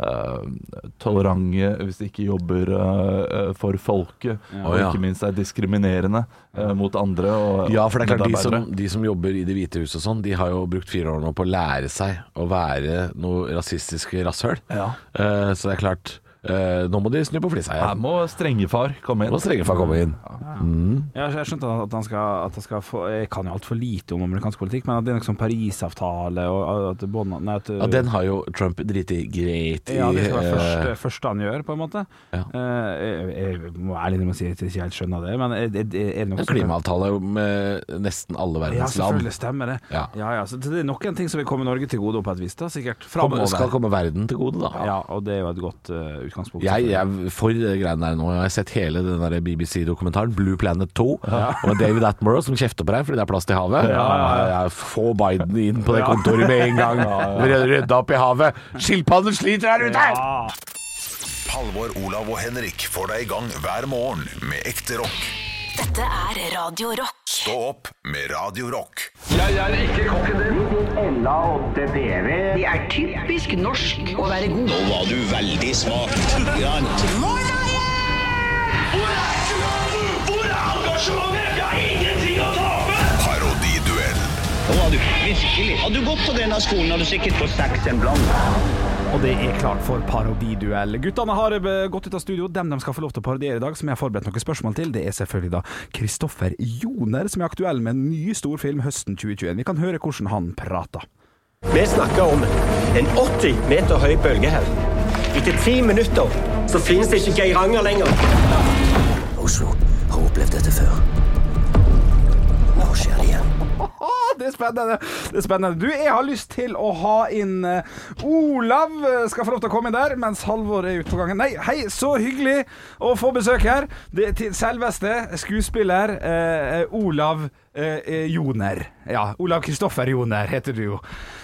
[SPEAKER 7] eh, tolerante, hvis de ikke jobber eh, for folket, og
[SPEAKER 3] Å, ja.
[SPEAKER 7] ikke minst er diskriminerende eh, mot andre. Og,
[SPEAKER 3] Ja, for det er klart de
[SPEAKER 7] medarbeidere.
[SPEAKER 3] som, de som jobber i Det hvite huset og sånn, de har jo brukt fire år nå på å lære seg å være noe rasistisk rasshøl.
[SPEAKER 7] Ja.
[SPEAKER 3] Eh, så det er klart eh, Nå må de snu på flisa
[SPEAKER 7] Her
[SPEAKER 3] igjen.
[SPEAKER 7] må strengefar komme
[SPEAKER 3] Nå
[SPEAKER 7] inn.
[SPEAKER 3] må strengefar komme inn.
[SPEAKER 4] Jeg, jeg skjønte at han skal, at han skal få Jeg kan jo altfor lite om amerikansk politikk, men at det er noe sånn Parisavtale og at bånd- Nei, at
[SPEAKER 3] Ja, den har jo Trump driti greit i.
[SPEAKER 4] Ja, det skal være
[SPEAKER 3] eh,
[SPEAKER 4] første, første han gjør, på en måte.
[SPEAKER 3] Ja.
[SPEAKER 4] Eh, jeg, jeg må ærlig innrømme å si at jeg ikke helt skjønner det, men er, er, er det noe
[SPEAKER 3] en klimaavtale med nesten alle
[SPEAKER 4] Ja,
[SPEAKER 3] verdens land.
[SPEAKER 4] selvfølgelig stemmer det.
[SPEAKER 3] Ja.
[SPEAKER 4] Ja, ja, så det er noen ting som vil komme Norge til gode på et vis, da, sikkert.
[SPEAKER 3] Kommer-
[SPEAKER 4] Framover.
[SPEAKER 3] skal komme verden til gode, da.
[SPEAKER 4] Ja, og det er jo et godt eh, utgangspunkt.
[SPEAKER 3] Jeg, jeg er for de greiene der nå. Jeg har sett hele den der BBC-dokumentaren, Blue Planet 2, og David Attenborough som kjefter på deg fordi det er plass til havet. Jeg Få Biden inn på det kontoret med en gang. Rydde opp i havet. Skilpadden sliter her ute!
[SPEAKER 1] Halvor, Olav og Henrik får deg i gang hver morgen med ekte rock.
[SPEAKER 2] Dette er Radio Rock.
[SPEAKER 1] Stå opp med Radio Rock. Parodiduell.
[SPEAKER 4] Og det er klart for parodiduell. Guttene har eh, gått ut av studio. Dem de skal få lov til å parodiere i dag, som jeg har forberedt noen spørsmål til, det er selvfølgelig da Kristoffer Joner, som er aktuell med en ny stor film høsten 2021. Vi kan høre hvordan han prater.
[SPEAKER 10] Vi snakker om en 80 meter høy bølgehaug. Etter ti minutter så finnes det ikke Geiranger lenger. Oslo har opplevd dette før. Nå skjer det igjen.
[SPEAKER 4] Ah, det er spennende! Det er spennende. Du, jeg har lyst til å ha inn eh, Olav eh, skal få lov til å komme inn der, mens Halvor er ute på gangen. Nei, hei, så hyggelig å få besøk her. Det er til selveste skuespiller eh, eh, Olav eh, eh, Joner. Ja, Olav Kristoffer Joner heter du jo.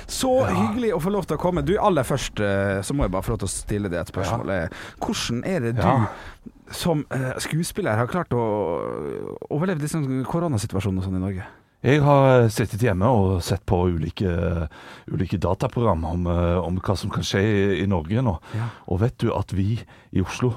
[SPEAKER 4] Så hyggelig å få lov til å komme. Du, aller først eh, så må jeg bare få lov til å stille deg et spørsmål. Eh, Hvordan er det du som eh, skuespiller har klart å eh, overleve disse koronasituasjonen og sånn i Norge?
[SPEAKER 7] Jeg har sittet hjemme og sett på ulike, ulike dataprogram om, eh, om hva som kan skje i, i Norge nå.
[SPEAKER 4] Ja.
[SPEAKER 7] Og vet du at vi i Oslo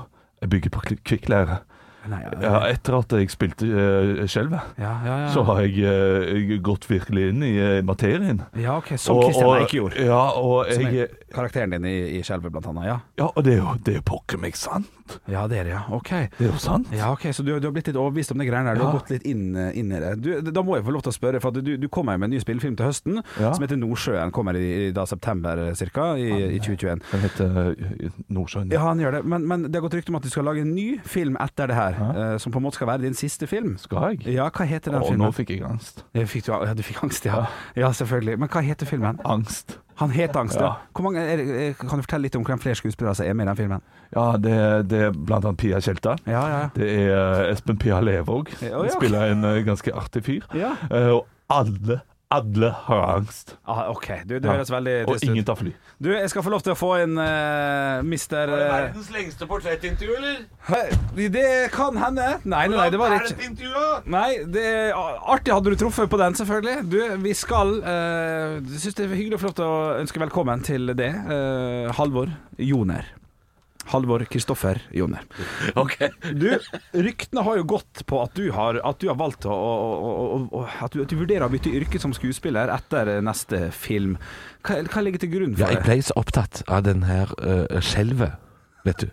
[SPEAKER 7] bygger på kli- kvikklære?
[SPEAKER 4] Nei,
[SPEAKER 7] Ja, etter at jeg spilte uh, skjelvet,
[SPEAKER 4] Ja, ja, ja.
[SPEAKER 7] så har jeg, eh, jeg gått virkelig inn i eh, materien.
[SPEAKER 4] ja ok. Som
[SPEAKER 7] Og-
[SPEAKER 4] Christian
[SPEAKER 7] og-
[SPEAKER 4] Eike gjorde.
[SPEAKER 7] Ja, og
[SPEAKER 4] Som
[SPEAKER 7] jeg,
[SPEAKER 4] er karakteren din i, i Skjelvet, blant annet. Ja,
[SPEAKER 7] ja, og det er jo, det er jo pokker meg sant.
[SPEAKER 4] ja det er det, ja. Ok.
[SPEAKER 7] Det er jo sant.
[SPEAKER 4] Ja, ok, Så du, du har blitt litt overbevist om de greiene der. Du har
[SPEAKER 7] Ja.
[SPEAKER 4] gått litt inn, inn i det. Du, da må jeg få lov til å spørre, for at du, du kommer jo med en ny spillefilm til høsten
[SPEAKER 7] Ja.
[SPEAKER 4] som heter Nordsjøen. Kommer i, i da september ca. I, i 2021.
[SPEAKER 7] Den heter eh, Nordsjøen.
[SPEAKER 4] Ja, han gjør det, men, men det har gått rykte om at du skal lage en ny film etter det her, eh, som på en måte skal være din siste film.
[SPEAKER 7] Skal jeg?
[SPEAKER 4] Ja, hva heter den
[SPEAKER 7] Og
[SPEAKER 4] filmen?
[SPEAKER 7] nå
[SPEAKER 4] Eh,
[SPEAKER 7] fikk jeg angst.
[SPEAKER 4] Fikk du, ja, du fikk angst, ja. Ja, selvfølgelig. Men hva heter filmen?
[SPEAKER 7] Angst.
[SPEAKER 4] Han het Angst, ja.
[SPEAKER 7] Ja.
[SPEAKER 4] Hvor mange, er, er- kan du fortelle litt om hvem flere skuespillere som er med i den filmen?
[SPEAKER 7] Ja, det, det er blant annet Pia Kjelta.
[SPEAKER 4] Ja, ja, ja.
[SPEAKER 7] Det er eh, Espen Pia Levåg.
[SPEAKER 4] Ja, ja.
[SPEAKER 7] Han spiller en eh, ganske artig fyr.
[SPEAKER 4] Ja.
[SPEAKER 7] Eh, Og alle, alle har angst.
[SPEAKER 4] Ah, ok, du, det
[SPEAKER 7] Ja.
[SPEAKER 4] høres veldig
[SPEAKER 7] Og
[SPEAKER 4] trist
[SPEAKER 7] ingen
[SPEAKER 4] ut.
[SPEAKER 7] tar fly.
[SPEAKER 4] Du, jeg skal få lov til å få en uh, mister eh,
[SPEAKER 5] lengste portrettintervju, eller?
[SPEAKER 4] Hei, Det kan hende. Nei, nei, nei, det var ikke Nei, det er artig hadde du truffet på den, selvfølgelig. Du, vi skal uh, Syns det er hyggelig å få lov til å ønske velkommen til det. eh, Halvor Joner. Halvor Kristoffer Joner. Du, ryktene har jo gått på at du har, at du har valgt å, å, å, å at, du, at du vurderer å bytte yrke som skuespiller etter neste film. Hva, hva ligger til grunn
[SPEAKER 3] Ja,
[SPEAKER 4] for
[SPEAKER 3] jeg
[SPEAKER 4] det?
[SPEAKER 3] ble så opptatt av den her eh, skjelvet, vet du.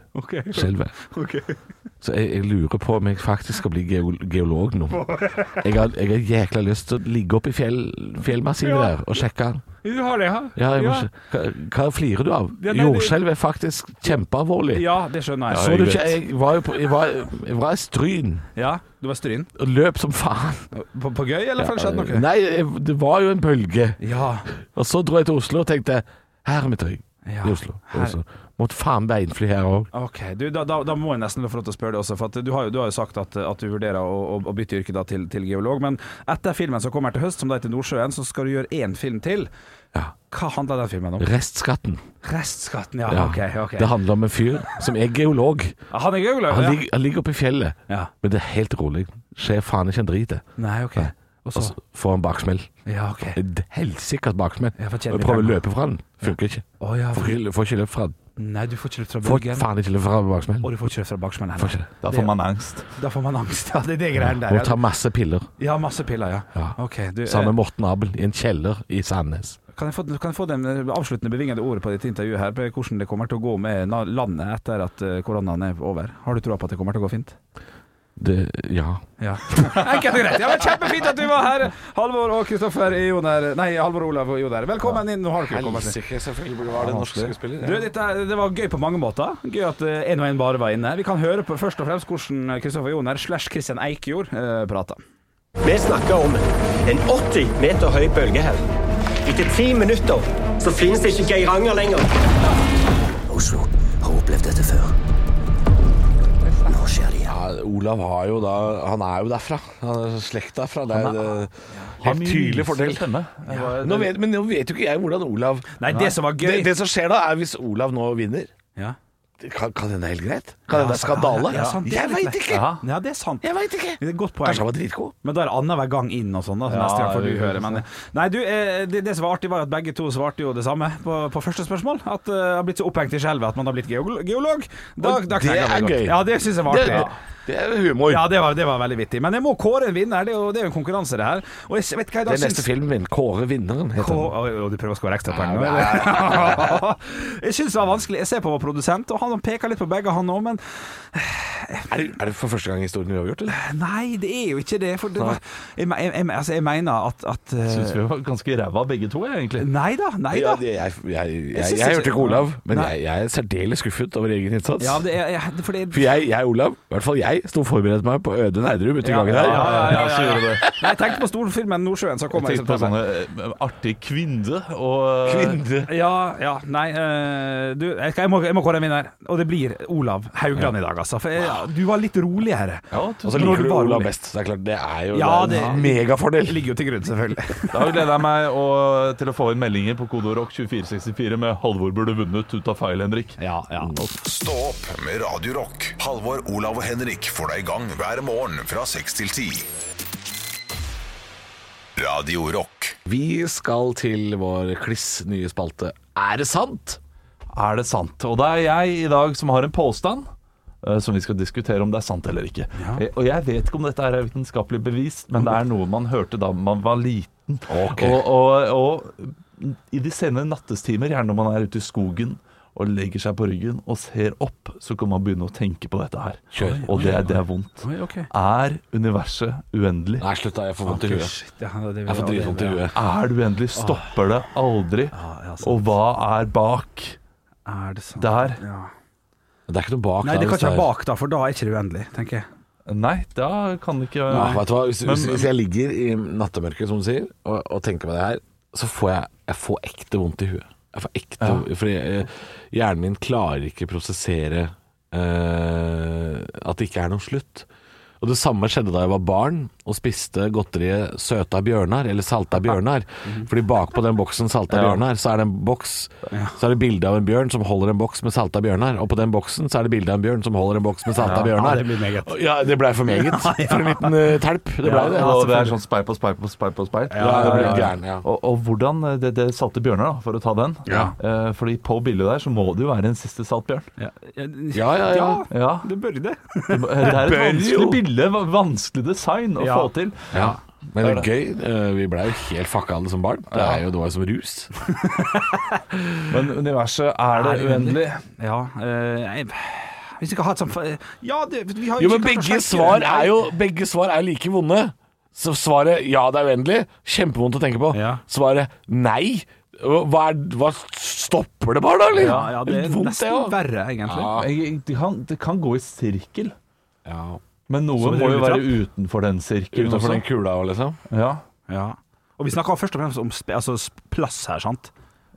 [SPEAKER 3] Skjelvet. Så jeg, jeg lurer på om jeg faktisk skal bli geo- geolog nå. Jeg har, jeg har jækla lyst til å ligge oppe i fjell, fjellmassivet der og sjekke
[SPEAKER 4] Du har det, ja?
[SPEAKER 3] Ja, jeg må, ikke- hva, hva flirer du av?
[SPEAKER 4] Ja, nei, det-
[SPEAKER 3] Jordskjelv er faktisk kjempealvorlig.
[SPEAKER 4] Ja, det skjønner jeg.
[SPEAKER 3] Så du ikke, jeg var jo på, jeg var, jeg var i Stryn
[SPEAKER 4] Ja, du var stryn.
[SPEAKER 3] og løp som faen.
[SPEAKER 4] På, på gøy, eller har det skjedd noe?
[SPEAKER 3] Nei, jeg- det var jo en bølge.
[SPEAKER 4] Ja.
[SPEAKER 3] Og så dro jeg til Oslo og tenkte her er mitt øy.
[SPEAKER 4] Ja,
[SPEAKER 3] I Oslo.
[SPEAKER 4] her-
[SPEAKER 3] Og så Måtte faen beinfly her òg.
[SPEAKER 4] Ok, du, da, da, da må jeg nesten få lov til å spørre deg også, for at du har jo, du har jo sagt at, at du vurderer å, å, å bytte yrke da til, til geolog, men etter filmen som kommer til høst, som da heter Nordsjøen, så skal du gjøre én film til.
[SPEAKER 3] Ja.
[SPEAKER 4] Hva handler den filmen om?
[SPEAKER 3] Restskatten.
[SPEAKER 4] Restskatten, ja.
[SPEAKER 3] Ja.
[SPEAKER 4] Ah, Ok, ok.
[SPEAKER 3] Det handler om en fyr som er geolog.
[SPEAKER 4] Han er geolog,
[SPEAKER 3] Han,
[SPEAKER 4] ja.
[SPEAKER 3] ligger, han ligger oppe i fjellet,
[SPEAKER 4] ja.
[SPEAKER 3] men det er helt rolig. Skjer faen ikke en drit. det.
[SPEAKER 4] Nei, ok. Og
[SPEAKER 3] Og
[SPEAKER 4] så
[SPEAKER 3] så får han baksmell.
[SPEAKER 4] Ja, ok. Å
[SPEAKER 3] Et Helsikkert baksmell.
[SPEAKER 4] Ja, for kjenner
[SPEAKER 3] Og prøver å
[SPEAKER 4] vi
[SPEAKER 3] løpe fra den. Funker ikke.
[SPEAKER 4] ja.
[SPEAKER 3] Får ikke, får ikke løp fra den.
[SPEAKER 4] Nei, du får ikke løpt fra
[SPEAKER 3] Får
[SPEAKER 4] bryggen.
[SPEAKER 3] faen ikke løp fra baksmell.
[SPEAKER 4] Og du får ikke løpt fra baksmellen
[SPEAKER 3] Får ikke
[SPEAKER 4] heller.
[SPEAKER 3] det.
[SPEAKER 7] Da får man angst.
[SPEAKER 4] Da får man angst. Ja, det er det greiene der.
[SPEAKER 3] Må ta
[SPEAKER 4] Ja.
[SPEAKER 3] masse piller.
[SPEAKER 4] ja, masse piller, ja.
[SPEAKER 3] Ja.
[SPEAKER 4] Ok, du, eh,
[SPEAKER 3] Sammen med Morten Abel i en kjeller i Sandnes.
[SPEAKER 4] Kan jeg, få, kan jeg få den eh, avsluttende bevingede ordet på ditt intervju her, på hvordan det kommer til å gå med na- landet etter at eh, koronaen er over? Har du troa på at det kommer til å gå fint?
[SPEAKER 3] Det, ja.
[SPEAKER 4] Ja. Enkelt og greit. Ja, men Kjempefint at du var her, Halvor og Kristoffer i Joner. Nei, Halvor Olav og Joner. Velkommen inn. Nå har dere kommet inn.
[SPEAKER 3] selvfølgelig var det norsk skuespiller.
[SPEAKER 4] Du, dette, er- det var gøy på mange måter. Gøy at én og én bare var inne. Vi kan høre på først og fremst hvordan Kristoffer Joner slash Christian Eikjord eh, prata.
[SPEAKER 10] Vi snakker om en 80 meter høy bølge her. Etter ti minutter så finnes det ikke Geiranger lenger. Oslo har opplevd dette før. Nå skjer det igjen.
[SPEAKER 3] Ja, Olav har jo da Han er jo derfra. Han er slekta fra der. det-
[SPEAKER 7] Har
[SPEAKER 3] Helt
[SPEAKER 7] mye
[SPEAKER 3] tydelig
[SPEAKER 7] lysere
[SPEAKER 3] fordel.
[SPEAKER 7] stemme. Jeg var-
[SPEAKER 3] Nå vet, men nå vet jo ikke jeg hvordan Olav
[SPEAKER 4] Nei, det som var
[SPEAKER 3] det,
[SPEAKER 4] gøy
[SPEAKER 3] det som skjer da, er hvis Olav nå vinner
[SPEAKER 4] Ja.
[SPEAKER 3] det Kan, kan hende det er helt greit? Kan hende det er
[SPEAKER 4] Ja,
[SPEAKER 3] skandale?
[SPEAKER 4] ja, sant, det er
[SPEAKER 3] Jeg
[SPEAKER 4] litt
[SPEAKER 3] veit ikke!
[SPEAKER 7] Ja.
[SPEAKER 4] Ja, det er sant.
[SPEAKER 3] Jeg vet ikke!
[SPEAKER 4] Det er et godt poeng.
[SPEAKER 3] Kanskje han var dritgod?
[SPEAKER 4] Men da er det annenhver gang inn og sånn, da. så
[SPEAKER 7] Ja,
[SPEAKER 4] neste gang får
[SPEAKER 7] det
[SPEAKER 4] du
[SPEAKER 7] er
[SPEAKER 4] høre. Men, nei, du, eh, det, det som var artig, var at begge to svarte jo det samme på, på første spørsmål. At eh, jeg har blitt så opphengt i skjelvet at man har blitt geol- geolog. Da,
[SPEAKER 3] Og
[SPEAKER 4] da
[SPEAKER 3] det
[SPEAKER 4] knekker jeg
[SPEAKER 3] er
[SPEAKER 4] meg godt.
[SPEAKER 3] gøy.
[SPEAKER 4] Ja, det syns jeg var
[SPEAKER 3] Det,
[SPEAKER 4] artig.
[SPEAKER 3] det er humor.
[SPEAKER 4] Ja, det var, det var veldig vittig. Men jeg må kåre en vinner. Det er jo, det er jo en konkurranse, det her. Og jeg vet hva jeg
[SPEAKER 3] det
[SPEAKER 4] da
[SPEAKER 3] er neste
[SPEAKER 4] syns
[SPEAKER 3] filmen min. 'Kåre vinneren', heter den.
[SPEAKER 4] Kå- Oi, oi, du prøver å skåre ekstrapoeng nå?
[SPEAKER 3] Ja,
[SPEAKER 4] eller? jeg syns det var vanskelig. Jeg ser på vår produsent, og han peker litt på begge, han òg, men
[SPEAKER 3] Er det, er det for første gang i historien uavgjort, eller?
[SPEAKER 4] eh, nei, det er jo ikke det. For det var, jeg, me- jeg, me- altså, jeg mener at, at eh,
[SPEAKER 7] Syns vi var ganske ræva begge to, jeg, egentlig.
[SPEAKER 4] Nei da, nei
[SPEAKER 3] Ja,
[SPEAKER 4] da.
[SPEAKER 3] det, jeg, jeg, jeg,
[SPEAKER 4] Jeg
[SPEAKER 3] jeg,
[SPEAKER 4] synes
[SPEAKER 3] jeg
[SPEAKER 4] ikke-
[SPEAKER 3] hørte ikke Olav, men
[SPEAKER 4] Nei.
[SPEAKER 3] jeg, jeg er særdeles skuffet over egen innsats.
[SPEAKER 4] Ja, det er, ja, det- for det
[SPEAKER 3] For jeg, jeg Olav, i hvert fall jeg, sto og forberedte meg på Øde Nerdrum ute i gangen her.
[SPEAKER 7] ja, så gjorde det.
[SPEAKER 4] Nei, jeg tenkte på storfilmen Nordsjøen som
[SPEAKER 7] Jeg
[SPEAKER 4] kommer i
[SPEAKER 7] tenkte på
[SPEAKER 4] september.
[SPEAKER 7] sånne eh, artig kvinne og eh,
[SPEAKER 3] Kvinde.
[SPEAKER 4] Ja, ja, nei eh, du, jeg, skal- jeg, må, jeg må kåre en vinner. Og det blir Olav Haugland i dag, altså. For jeg, du var litt roligere.
[SPEAKER 7] Ja,
[SPEAKER 3] Og
[SPEAKER 7] tusen
[SPEAKER 3] så
[SPEAKER 7] takk.
[SPEAKER 4] Når
[SPEAKER 3] liker
[SPEAKER 4] du
[SPEAKER 3] du
[SPEAKER 4] bare
[SPEAKER 3] Olav
[SPEAKER 4] rolig.
[SPEAKER 3] best. Det er klart, det er jo
[SPEAKER 4] Ja,
[SPEAKER 3] det er en
[SPEAKER 4] det-
[SPEAKER 3] megafordel.
[SPEAKER 4] Det ligger jo til grunn, selvfølgelig.
[SPEAKER 7] Da gleder jeg meg å- til å få inn meldinger på kodeord rock 2464 med 'Halvor burde vunnet' ut av feil, Henrik.
[SPEAKER 4] Ja, ja.
[SPEAKER 1] Stå opp med Radio Rock. Halvor, Olav og Henrik får deg i gang hver morgen fra 6 til 10. Radio Rock.
[SPEAKER 3] Vi skal til vår kliss nye spalte Er det sant?
[SPEAKER 7] Er det sant? Og det er jeg i dag som har en påstand. eh, Som vi skal diskutere om det er sant eller ikke. Eh, Og jeg vet ikke om dette er vitenskapelig bevist, men det er noe man hørte da man var liten. Og, og, og i de sene nattestimer, gjerne når man er ute i skogen og legger seg på ryggen og ser opp, så kan man begynne å tenke på dette her.
[SPEAKER 3] Kjør.
[SPEAKER 7] Og det, er- det er vondt.
[SPEAKER 4] Oi, ok.
[SPEAKER 7] Er universet uendelig?
[SPEAKER 3] Nei, slutt da, jeg får vondt i huet.
[SPEAKER 4] Shit, ja, det,
[SPEAKER 3] Jeg får dritvondt i huet.
[SPEAKER 7] Er det uendelig? Stopper det aldri?
[SPEAKER 4] Ah. ja, sant.
[SPEAKER 7] Og hva er bak
[SPEAKER 4] Er det sant?
[SPEAKER 7] der?
[SPEAKER 4] Ja.
[SPEAKER 3] Det er ikke noe bak
[SPEAKER 4] Nei, det
[SPEAKER 3] der,
[SPEAKER 4] kan ikke
[SPEAKER 3] hvis
[SPEAKER 4] være bak, da, for da er ikke det uendelig, tenker jeg.
[SPEAKER 7] Nei, da kan det ikke
[SPEAKER 3] Ja, vet du hva? Hvis, hvis, hvis jeg ligger i nattemørket, som du sier, og, og tenker på det her, så får jeg, jeg får ekte vondt i huet. Jeg får ekte, Fordi eh, hjernen min klarer ikke prosessere eh, at det ikke er noen slutt. Og Det samme skjedde da jeg var barn og spiste godteriet søta bjørnar, eller salta bjørnar. Fordi bakpå den boksen salta bjørnar, så er det en boks Så er det bilde av en bjørn som holder en boks med salta bjørnar. Og på den boksen så er det bilde av en bjørn som holder en boks med salta bjørnar.
[SPEAKER 4] det blir meget.
[SPEAKER 3] Ja, det blei for meget. For en liten eh, telp. Det blei det.
[SPEAKER 7] og det er sånn speil på speil på speil på speil.
[SPEAKER 3] Ja, det blir gæren, ja.
[SPEAKER 7] Og, og hvordan eh, det, det salte bjørner, da, for å ta den.
[SPEAKER 3] Ja.
[SPEAKER 7] Eh, fordi på bildet der så må det jo være en siste saltbjørn.
[SPEAKER 4] Ja, ja,
[SPEAKER 3] Ja, ja, ja.
[SPEAKER 7] Ja.
[SPEAKER 4] det bør det.
[SPEAKER 7] Det er et
[SPEAKER 3] bør
[SPEAKER 7] vanskelig
[SPEAKER 3] jo.
[SPEAKER 7] bilde, va- vanskelig design å
[SPEAKER 4] Ja.
[SPEAKER 7] få til.
[SPEAKER 3] ja. Men det er gøy. Eh, Vi blei jo helt fucka alle som barn. Det er jo noe som rus.
[SPEAKER 7] Men universet, er det uendelig?
[SPEAKER 4] Ja, eh, jeg, hvis vi skal ha et sånt fa- Ja, det, vi har
[SPEAKER 3] Jo, men
[SPEAKER 4] ikke klart å
[SPEAKER 3] begge
[SPEAKER 4] sjekke
[SPEAKER 3] svar
[SPEAKER 4] det.
[SPEAKER 3] er jo Begge svar er like vonde. Så svaret ja, det er uendelig, kjempevondt å tenke på.
[SPEAKER 4] Ja.
[SPEAKER 3] Svaret nei, Hva, er, hva stopper det bare, da? Eller?
[SPEAKER 4] Ja, ja, det er
[SPEAKER 3] Vondt,
[SPEAKER 4] nesten
[SPEAKER 3] også.
[SPEAKER 4] verre, egentlig.
[SPEAKER 3] Ja.
[SPEAKER 7] Jeg, det, kan, det kan gå i sirkel.
[SPEAKER 3] Ja.
[SPEAKER 7] Men noe
[SPEAKER 4] Som en
[SPEAKER 7] må jo være
[SPEAKER 4] rulletrapp?
[SPEAKER 7] utenfor den sirkelen.
[SPEAKER 3] Utenfor
[SPEAKER 7] også.
[SPEAKER 3] den kula òg, liksom.
[SPEAKER 7] Ja.
[SPEAKER 4] Ja. Og vi snakker først og fremst om sp altså s- plass her, sant?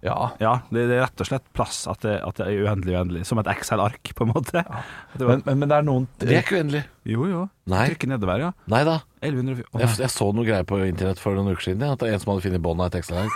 [SPEAKER 7] ja.
[SPEAKER 4] Ja, det, det er rett og slett plass at det, at det er uendelig uendelig. Som et Excel-ark, på en måte. At det var-
[SPEAKER 7] Men, men, men det er noen
[SPEAKER 3] Det er ikke uendelig.
[SPEAKER 4] jo, jo.
[SPEAKER 3] Nei.
[SPEAKER 4] Trykke nedover, ja.
[SPEAKER 3] Nei da.
[SPEAKER 4] 1100 Å,
[SPEAKER 3] Jeg,
[SPEAKER 4] nei.
[SPEAKER 3] jeg så noe greier på internett for noen uker siden. Ja, at det er en som hadde funnet bånd av et Excel-ark.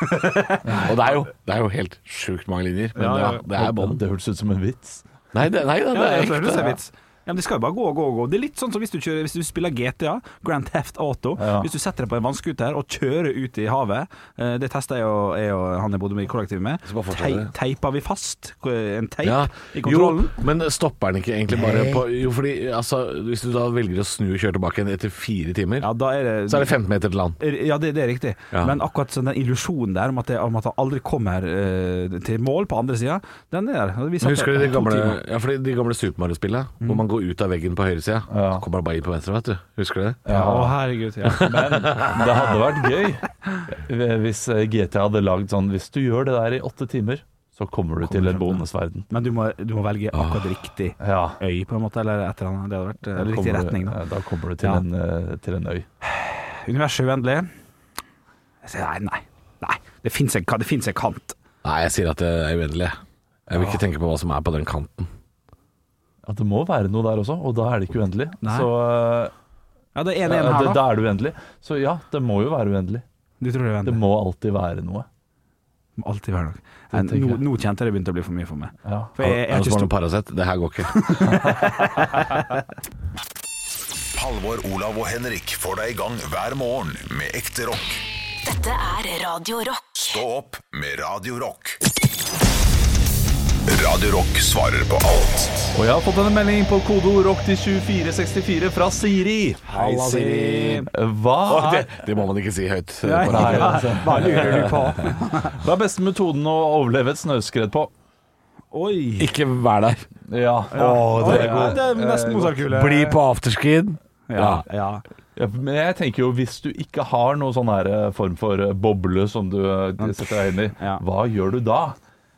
[SPEAKER 3] Og det er, jo, det er jo helt sjukt mange linjer, men
[SPEAKER 4] Ja, ja,
[SPEAKER 3] ja,
[SPEAKER 4] ja.
[SPEAKER 3] det er bånd.
[SPEAKER 7] Det hørtes ut som en vits.
[SPEAKER 3] Nei, det, nei da, det
[SPEAKER 4] Ja,
[SPEAKER 3] er
[SPEAKER 4] jeg tror det
[SPEAKER 3] ekte.
[SPEAKER 4] er vits. Ja, men de skal jo bare gå og gå og gå. Det er litt sånn som hvis du, kjører, hvis du spiller GTA, Grand Theft Auto.
[SPEAKER 7] Ja.
[SPEAKER 4] Hvis du setter deg på en vannskuter og kjører ut i havet, eh, det testa jeg og, jeg og han jeg bodde med i kollektivet med,
[SPEAKER 3] Så bare fortsett
[SPEAKER 4] Tei,
[SPEAKER 3] det.
[SPEAKER 4] teipa vi fast eh, en teip
[SPEAKER 3] Ja.
[SPEAKER 4] i
[SPEAKER 3] Jo,
[SPEAKER 4] kontrollen?
[SPEAKER 3] men stopper den ikke egentlig bare på Jo, fordi altså, hvis du da velger å snu og kjøre tilbake igjen etter fire timer,
[SPEAKER 4] Ja, da er det,
[SPEAKER 3] så er det 15 meter til land.
[SPEAKER 4] Ja, det, det er riktig.
[SPEAKER 3] Ja.
[SPEAKER 4] Men akkurat sånn den illusjonen der om at, det, om at han aldri kommer eh, til mål på andre sida, den er der. Vi satt
[SPEAKER 3] Husker du de
[SPEAKER 4] to
[SPEAKER 3] gamle,
[SPEAKER 4] timer. Mm.
[SPEAKER 3] ja, fordi de gamle Super Mario-spillene? Hvor man går ut av veggen på høyresida, så kommer man bare inn på venstre, vet du. Husker du det?
[SPEAKER 4] Ja, å, herregud. Ja.
[SPEAKER 7] Men det hadde vært gøy hvis eh, GTA hadde lagd sånn Hvis du gjør det der i åtte timer, så kommer du til en bonusverden.
[SPEAKER 4] Men du må, du må velge akkurat riktig
[SPEAKER 7] Ja.
[SPEAKER 4] øy, på en måte, eller et eller annet. Det hadde vært eh, riktig
[SPEAKER 7] kommer du-
[SPEAKER 4] retning, da.
[SPEAKER 7] ja, Da kommer du til,
[SPEAKER 4] Ja.
[SPEAKER 7] en, eh, til en øy.
[SPEAKER 4] Universet er uendelig. Jeg sier nei, nei. nei. Det fins en, ka- det finnes en kant.
[SPEAKER 3] Nei, jeg sier at det er uendelig. Jeg vil
[SPEAKER 4] Ah.
[SPEAKER 3] ikke tenke på hva som er på den kanten.
[SPEAKER 7] At det må være noe der også, og da er det ikke uendelig.
[SPEAKER 4] Nei.
[SPEAKER 7] Så eh,
[SPEAKER 4] Ja, det er en, en
[SPEAKER 7] ja,
[SPEAKER 4] her,
[SPEAKER 7] det,
[SPEAKER 4] da.
[SPEAKER 7] da er det uendelig. Så ja, det må jo være uendelig.
[SPEAKER 4] Du tror det er
[SPEAKER 7] Det
[SPEAKER 4] uendelig?
[SPEAKER 7] må alltid være noe.
[SPEAKER 4] Må alltid være noe. Nei,
[SPEAKER 7] tenker
[SPEAKER 4] Nå,
[SPEAKER 7] jeg.
[SPEAKER 4] nå kjente jeg det begynte å bli for mye for meg.
[SPEAKER 7] Ja.
[SPEAKER 4] For jeg, jeg,
[SPEAKER 3] Er
[SPEAKER 4] er
[SPEAKER 3] det som
[SPEAKER 4] ikke
[SPEAKER 3] har
[SPEAKER 4] stor-
[SPEAKER 3] noe Paracet? Det her går ikke.
[SPEAKER 1] Halvor, Olav og Henrik får deg i gang hver morgen med ekte rock.
[SPEAKER 2] Dette er Radio Rock.
[SPEAKER 1] Stå opp med Radio Rock. Radio Rock svarer på alt.
[SPEAKER 7] Og jeg har fått en melding på kodeord rock til 2464 fra Siri.
[SPEAKER 4] Hei, Siri.
[SPEAKER 7] Hva
[SPEAKER 3] Det,
[SPEAKER 7] er,
[SPEAKER 3] det må man ikke si høyt. eh,
[SPEAKER 4] Nei,
[SPEAKER 3] på radio.
[SPEAKER 4] Hva lurer du på?
[SPEAKER 7] hva er beste metoden å overleve et snøskred på?
[SPEAKER 4] Oi.
[SPEAKER 3] Ikke vær der.
[SPEAKER 7] Ja.
[SPEAKER 3] Å, det er
[SPEAKER 4] Ja,
[SPEAKER 3] god.
[SPEAKER 4] det er nesten Mozart-kule.
[SPEAKER 3] Bli på afterskid. Ja.
[SPEAKER 4] Ja. ja.
[SPEAKER 7] Ja, Men jeg tenker jo, hvis du ikke har noen sånn her eh, form for eh, boble som du eh, setter deg inn i,
[SPEAKER 4] Ja.
[SPEAKER 7] hva gjør du da?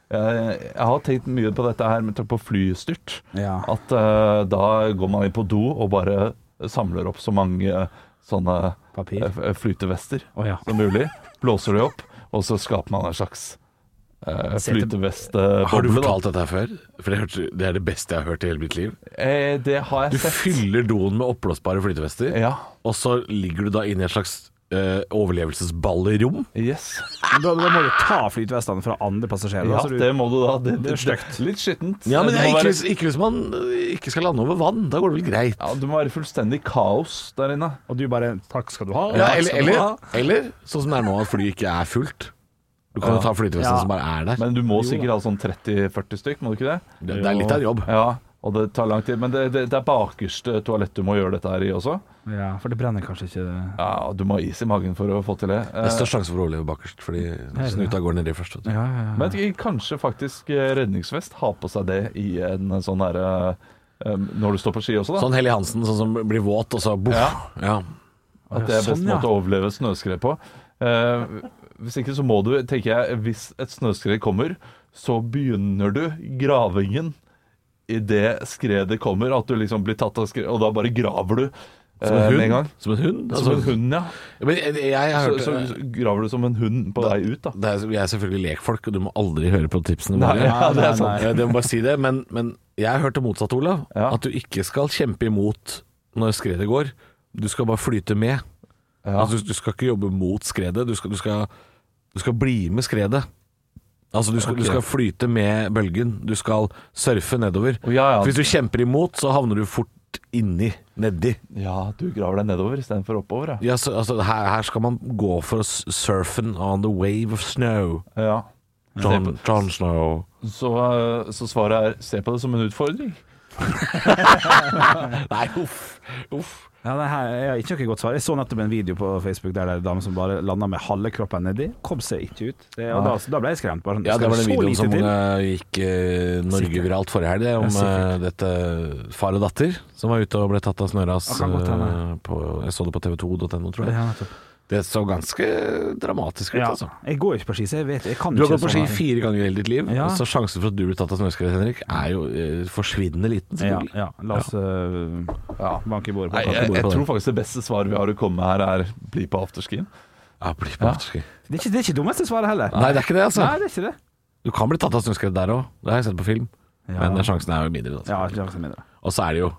[SPEAKER 7] Eh, Jeg har tenkt mye på dette her med tanke på flystyrt.
[SPEAKER 4] Ja.
[SPEAKER 7] At eh, da går man inn på do og bare samler opp så mange eh, sånne
[SPEAKER 4] Papir.
[SPEAKER 7] eh, f- eh, flytevester
[SPEAKER 4] Å, ja.
[SPEAKER 7] som mulig. Blåser de opp, og så skaper man en slags eh,
[SPEAKER 4] Sete-
[SPEAKER 7] flytevestboble.
[SPEAKER 3] Har du
[SPEAKER 7] da.
[SPEAKER 3] fortalt dette her før? For det, hørte, det er det beste jeg har hørt i hele mitt liv.
[SPEAKER 7] Eh, Det har
[SPEAKER 3] Du
[SPEAKER 7] jeg sett.
[SPEAKER 3] fyller doen med oppblåsbare flytevester,
[SPEAKER 7] Ja.
[SPEAKER 3] og så ligger du da inne i et slags eh, overlevelsesballerom.
[SPEAKER 7] Yes.
[SPEAKER 4] Men Da, da må du ta flytvestene fra andre passasjerer.
[SPEAKER 7] Ja,
[SPEAKER 4] da, så du-
[SPEAKER 7] det må du da. Det,
[SPEAKER 4] Det er stygt.
[SPEAKER 7] Litt skittent.
[SPEAKER 3] Ja, men
[SPEAKER 7] Det
[SPEAKER 3] det er ikke,
[SPEAKER 7] må være-
[SPEAKER 3] hvis, ikke hvis man eh, ikke skal lande over vann. Da går det vel greit.
[SPEAKER 7] Ja, Det må være fullstendig kaos der inne.
[SPEAKER 4] Og du bare Takk skal du ha.
[SPEAKER 3] Ja,
[SPEAKER 4] Takk
[SPEAKER 3] eller,
[SPEAKER 4] skal du
[SPEAKER 3] eller,
[SPEAKER 4] ha.
[SPEAKER 3] eller sånn som det er nå, at flyet ikke er fullt. Du kan jo ta flytevesten
[SPEAKER 4] Ja.
[SPEAKER 3] som bare er der.
[SPEAKER 7] Men du må sikkert ha sånn 30-40 stykk, må du ikke det?
[SPEAKER 3] Det, det er litt av en jobb.
[SPEAKER 7] Ja, og det tar lang tid. Men det, det, det er bakerste toalett du må gjøre dette her i også.
[SPEAKER 4] Ja, for det brenner kanskje ikke
[SPEAKER 7] Ja, og Du må ha is i magen for å få til det.
[SPEAKER 3] Det er
[SPEAKER 7] Eh,
[SPEAKER 3] størst sjanse for å overleve bakerst, fordi snuta går nedi først. vet du.
[SPEAKER 4] Ja, ja, ja.
[SPEAKER 7] Men jeg tenker kanskje faktisk eh, redningsvest har på seg det i en sånn herre Når du står på ski også, da.
[SPEAKER 3] Sånn Helly Hansen, sånn som blir våt, og så boff. Ja.
[SPEAKER 7] Ja. At det er best
[SPEAKER 4] Sånn, ja.
[SPEAKER 7] måte å overleve et snøskred på. Eh, hvis ikke så må du, tenker jeg, hvis et snøskred kommer, så begynner du gravingen i det skredet kommer, at du liksom blir tatt av skred, og da bare graver du eh,
[SPEAKER 3] Som en
[SPEAKER 7] med en
[SPEAKER 3] hund.
[SPEAKER 7] gang.
[SPEAKER 3] Som en hund.
[SPEAKER 7] Som en
[SPEAKER 3] altså.
[SPEAKER 7] hund, ja.
[SPEAKER 3] Men jeg, jeg, har
[SPEAKER 7] Så,
[SPEAKER 3] hørt
[SPEAKER 7] så graver du som en hund på vei ut, da.
[SPEAKER 3] det er, Vi er selvfølgelig lekfolk, og du må aldri høre på tipsene
[SPEAKER 7] Nei,
[SPEAKER 3] våre.
[SPEAKER 7] ja, det er sant.
[SPEAKER 3] Eh, Det må bare si det, men, men jeg har hørt det motsatte, Olav.
[SPEAKER 7] Ja.
[SPEAKER 3] At du ikke skal kjempe imot når skredet går. Du skal bare flyte med. Altså, du, du skal ikke jobbe mot skredet, du skal, du skal, du skal bli med skredet. Altså, du skal, du skal flyte med bølgen. Du skal surfe nedover.
[SPEAKER 7] Å, ja, ja.
[SPEAKER 3] For Hvis du kjemper imot, så havner du fort inni, nedi.
[SPEAKER 7] Ja, du graver deg nedover istedenfor oppover, ja.
[SPEAKER 3] Ja, så, altså, her, her skal man gå for å s- surfen on the wave of snow.
[SPEAKER 7] ja.
[SPEAKER 3] John, John Snow.
[SPEAKER 7] Så, eh, så svaret er se på det som en utfordring.
[SPEAKER 3] Nei, uff. uff.
[SPEAKER 4] Ja, det her er ikke noe godt svar. Jeg så nettopp en video på Facebook der det er en dame som bare landa med halve kroppen nedi. Kom seg ikke ut. Det, og da, da ble jeg skremt. Bare, sånn,
[SPEAKER 3] Ja, det
[SPEAKER 4] skal
[SPEAKER 3] var den
[SPEAKER 4] så
[SPEAKER 3] videoen
[SPEAKER 4] lite
[SPEAKER 3] som
[SPEAKER 4] til?
[SPEAKER 3] eh, gikk eh, Norge
[SPEAKER 4] Sikkert.
[SPEAKER 3] viralt forrige helg, det, om eh,
[SPEAKER 4] sikkert.
[SPEAKER 3] dette far og datter som var ute og ble tatt av snøras.
[SPEAKER 4] Ja, kan godt hende.
[SPEAKER 3] eh, på, jeg så det på tv2.no, tror jeg.
[SPEAKER 4] Ja, nettopp.
[SPEAKER 3] Det så ganske dramatisk ut,
[SPEAKER 4] Ja.
[SPEAKER 3] altså.
[SPEAKER 4] Jeg går ikke på ski, så jeg vet jeg kan
[SPEAKER 3] Du har
[SPEAKER 4] ikke
[SPEAKER 3] gått på ski
[SPEAKER 4] sånne-
[SPEAKER 3] fire ganger i hele ditt liv,
[SPEAKER 4] Ja.
[SPEAKER 3] så sjansen for at du blir tatt av snøskred, Henrik, er jo eh, forsvinnende liten.
[SPEAKER 4] Ja,
[SPEAKER 3] selvfølgelig.
[SPEAKER 4] ja. La oss øh, banke i bordet på
[SPEAKER 7] Nei,
[SPEAKER 4] banke i
[SPEAKER 7] jeg,
[SPEAKER 4] bordet
[SPEAKER 7] jeg
[SPEAKER 4] på
[SPEAKER 7] tror
[SPEAKER 4] det.
[SPEAKER 7] faktisk det beste svaret vi har å komme med her, er bli på afterskien.
[SPEAKER 3] Ja, bli på afterski.
[SPEAKER 4] Det er ikke det er ikke dummeste svaret heller.
[SPEAKER 3] Nei, det er ikke det, altså.
[SPEAKER 4] Nei, det er ikke det.
[SPEAKER 3] Du kan bli tatt av snøskred der òg, det har jeg sett på film. Men sjansen er jo mindre. Altså.
[SPEAKER 4] Ja, sjansen er mindre.
[SPEAKER 3] Og så er det jo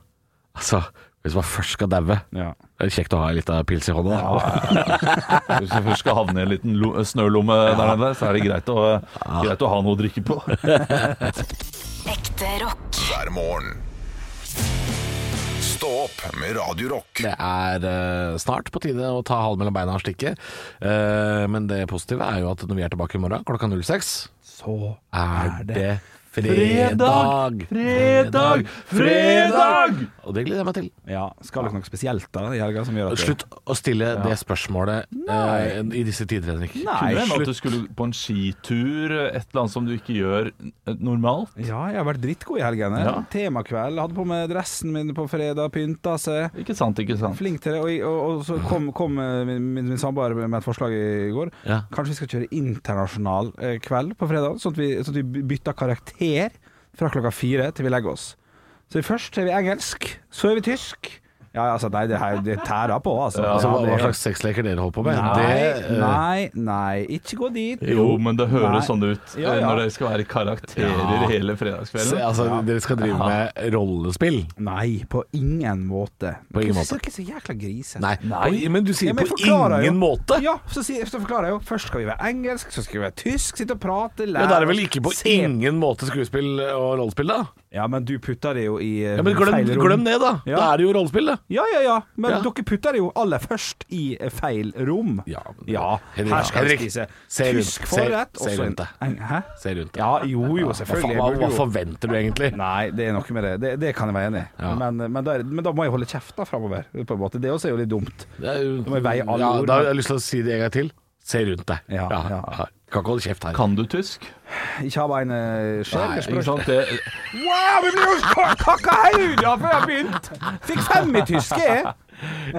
[SPEAKER 3] Altså, hvis man først skal daue,
[SPEAKER 4] Ja.
[SPEAKER 3] det er det kjekt å ha litt av pils i hånda. da.
[SPEAKER 7] Hvis du først skal havne i en liten lo snølomme der nede, så er det greit å, greit å ha noe å drikke på.
[SPEAKER 2] Ekte rock.
[SPEAKER 1] hver morgen. Stå opp med Radio Rock.
[SPEAKER 3] Det er eh, snart på tide å ta halen mellom beina og stikke. Eh, men det positive er jo at når vi er tilbake i morgen klokka 06,
[SPEAKER 4] Så
[SPEAKER 3] er det fredag!
[SPEAKER 7] Fredag! Fredag! Fredag!
[SPEAKER 3] Og det gleder jeg meg til.
[SPEAKER 4] Ja, skal dere noe spesielt da i helga som gjør at
[SPEAKER 3] Slutt å stille det spørsmålet eh, i disse tider, Henrik.
[SPEAKER 7] Kunne
[SPEAKER 4] Nei,
[SPEAKER 7] det hende at
[SPEAKER 4] slutt.
[SPEAKER 7] du skulle på en skitur, et eller annet som du ikke gjør eh, normalt.
[SPEAKER 4] Ja, jeg har vært drittgod i helgene.
[SPEAKER 7] Ja.
[SPEAKER 4] Temakveld. Hadde på meg dressen min på fredag, pynta seg.
[SPEAKER 7] Ikke sant, ikke sant.
[SPEAKER 4] Flink til det. Og, og, og så kom, kom eh, min, min, min samboer med et forslag i går.
[SPEAKER 3] Ja.
[SPEAKER 4] Kanskje vi skal kjøre internasjonal eh, kveld på fredag, sånn at vi, sånn at vi bytter karakter fra klokka fire til vi legger oss. Så først er vi engelsk, så er vi tysk. Ja, altså, nei, det, her, det tærer på, altså.
[SPEAKER 3] Altså, hva,
[SPEAKER 4] Ja, det-
[SPEAKER 3] hva slags sexleker dere holder på med? det,
[SPEAKER 4] Nei,
[SPEAKER 3] eh,
[SPEAKER 4] nei, nei, ikke gå dit.
[SPEAKER 7] Jo, men det høres
[SPEAKER 4] Nei.
[SPEAKER 7] sånn ut
[SPEAKER 4] Ja,
[SPEAKER 7] eh,
[SPEAKER 4] ja.
[SPEAKER 7] når dere skal være karakterer
[SPEAKER 3] Ja.
[SPEAKER 7] hele
[SPEAKER 3] se,
[SPEAKER 7] fredagskvelden.
[SPEAKER 3] altså, Dere skal drive med rollespill?
[SPEAKER 4] Nei, på ingen måte.
[SPEAKER 3] På ingen
[SPEAKER 4] Hvorfor er dere så jækla grise?
[SPEAKER 3] Nei. Oi, men du sier
[SPEAKER 4] Ja, men
[SPEAKER 3] på
[SPEAKER 4] jeg forklarer
[SPEAKER 3] ingen
[SPEAKER 4] jo.
[SPEAKER 3] måte!
[SPEAKER 4] Ja, så, sier, så forklarer jeg jo. Først skal vi være engelsk, så skal vi være tysk, sitte og prate, lære
[SPEAKER 3] Ja, Da er det vel ikke på
[SPEAKER 4] se-
[SPEAKER 3] ingen måte skuespill og rollespill, da?
[SPEAKER 4] Ja, men du putter det jo i eh,
[SPEAKER 3] Ja, men glem,
[SPEAKER 4] feil rom.
[SPEAKER 3] glem det, da.
[SPEAKER 4] Ja.
[SPEAKER 3] Da er det jo rollespill, da.
[SPEAKER 4] Ja, ja, ja, men
[SPEAKER 3] Ja.
[SPEAKER 4] dere putter det jo aller først i eh, feil rom.
[SPEAKER 3] Ja, men- Henrik,
[SPEAKER 4] her skal vi
[SPEAKER 3] Henrik,
[SPEAKER 4] spise
[SPEAKER 3] se rundt-
[SPEAKER 4] tysk
[SPEAKER 3] se-
[SPEAKER 4] forrett.
[SPEAKER 3] se
[SPEAKER 4] og så en-
[SPEAKER 3] rundt deg.
[SPEAKER 4] en- Hæ?
[SPEAKER 3] Se rundt deg.
[SPEAKER 4] Ja, jo, jo,
[SPEAKER 3] Hva, faen,
[SPEAKER 4] selvfølgelig.
[SPEAKER 3] hva,
[SPEAKER 4] Jeg
[SPEAKER 3] hva
[SPEAKER 4] burde jo-
[SPEAKER 3] forventer du egentlig?
[SPEAKER 4] Nei, det er noe med det. Det, det kan jeg være enig i.
[SPEAKER 3] Ja.
[SPEAKER 4] Men, men, da er- men da må jeg holde kjeft da framover. På en måte. Det også er jo litt dumt.
[SPEAKER 3] Det er jo-
[SPEAKER 4] Da må jeg veie alle
[SPEAKER 3] ja,
[SPEAKER 4] ord,
[SPEAKER 3] Da
[SPEAKER 4] da.
[SPEAKER 3] har jeg lyst til å si det en gang til. Se rundt deg.
[SPEAKER 4] Ja, ja.
[SPEAKER 3] Kan ikke holde kjeft her.
[SPEAKER 7] Kan du tysk?
[SPEAKER 4] Ikke ha eh, beina skjær.
[SPEAKER 3] Nei,
[SPEAKER 4] jeg
[SPEAKER 7] Ikke
[SPEAKER 4] spør-
[SPEAKER 7] sant? Det,
[SPEAKER 4] Wow, vi ble jo ka- kakka høyda før jeg begynte! Fikk fem i tysk, jeg.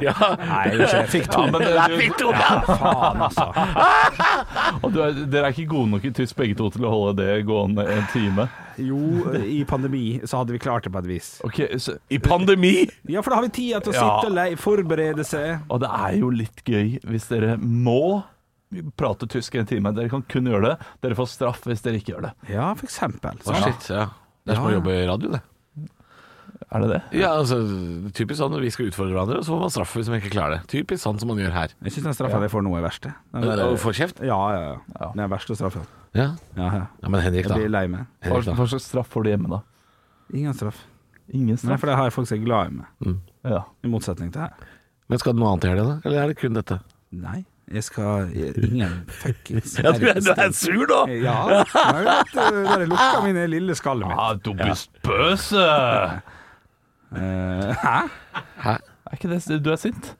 [SPEAKER 3] Ja.
[SPEAKER 4] Nei, jeg gjorde ikke det. Fikk to.
[SPEAKER 7] ja, men det,
[SPEAKER 3] Nei,
[SPEAKER 7] du,
[SPEAKER 3] fikk to, ja.
[SPEAKER 4] Faen, altså.
[SPEAKER 7] og du er, dere er ikke gode nok i tysk begge to til å holde det gående en time.
[SPEAKER 4] Jo, i pandemi så hadde vi klart det på et vis.
[SPEAKER 7] Ok, så,
[SPEAKER 3] I pandemi!
[SPEAKER 4] Ja, for da har vi tida til å
[SPEAKER 7] Ja.
[SPEAKER 4] sitte og le forberede seg.
[SPEAKER 7] Og det er jo litt gøy hvis dere må prate tysk en time. Dere kan kun gjøre det. Dere får straff hvis dere ikke gjør det.
[SPEAKER 4] Ja, for eksempel.
[SPEAKER 3] Å, shit, ja. Det er som å
[SPEAKER 4] Ja.
[SPEAKER 3] jobbe i radio, det.
[SPEAKER 7] Er det det?
[SPEAKER 3] Ja, altså, Typisk sånn når vi skal utfordre hverandre, så får man straff hvis man ikke klarer det. Typisk sånn som man gjør her.
[SPEAKER 4] Jeg syns den straffa jeg får nå, er verst. Den der-
[SPEAKER 3] Og får kjeft?
[SPEAKER 4] Ja, ja, ja. Den er verst å straffe.
[SPEAKER 3] Ja.
[SPEAKER 4] Ja, ja.
[SPEAKER 3] ja, men Henrik,
[SPEAKER 4] Jeg
[SPEAKER 3] da.
[SPEAKER 4] blir lei meg.
[SPEAKER 7] Hva,
[SPEAKER 3] Henrik, da.
[SPEAKER 7] hva slags straff får du hjemme, da?
[SPEAKER 4] Ingen straff.
[SPEAKER 7] Ingen
[SPEAKER 4] Nei,
[SPEAKER 7] straff.
[SPEAKER 4] for det har jeg folk som er glad i meg.
[SPEAKER 7] Ja.
[SPEAKER 4] I motsetning til her.
[SPEAKER 3] Men skal du noe annet i helga, da? Eller er det kun dette?
[SPEAKER 4] Nei, jeg skal Ingen fuckings
[SPEAKER 3] Ja, du, er, sånn- du er sur nå!
[SPEAKER 4] Ja, det er jo litt, uh, der jeg lukka mine lille skall mitt.
[SPEAKER 7] Ah, du bist bøse! Er
[SPEAKER 4] Eh, hæ?
[SPEAKER 3] Hæ?
[SPEAKER 7] ikke det Du er sint?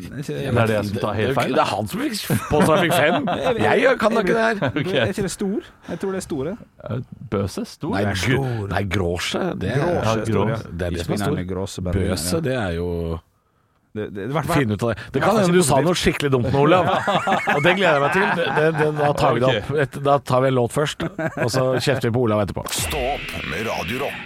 [SPEAKER 4] Ikke,
[SPEAKER 7] Det er det jeg som tar helt feil.
[SPEAKER 3] Det er han som fikk påstå han fikk fem. Jeg kan da ikke det her.
[SPEAKER 7] Ok.
[SPEAKER 4] Er ikke det stor? Jeg tror det er store.
[SPEAKER 7] Bøse? Stor?
[SPEAKER 3] Nei,
[SPEAKER 4] er
[SPEAKER 3] gru,
[SPEAKER 4] stor.
[SPEAKER 3] nei gråsje. Det er,
[SPEAKER 4] Gråsje
[SPEAKER 7] ja,
[SPEAKER 4] er stor,
[SPEAKER 7] grå.
[SPEAKER 4] ja.
[SPEAKER 3] det er det som er stor.
[SPEAKER 4] Gråse,
[SPEAKER 3] Bøse, det er jo
[SPEAKER 4] Det, det, det, det,
[SPEAKER 3] Finn ut av det. Det kan hende du sa noe skikkelig dumt nå, Olav. Og det gleder jeg meg til. Det, det, da tar vi det opp. Et, da tar vi en låt først, og så kjefter vi på Olav etterpå.
[SPEAKER 1] Stå opp med Radio Rock.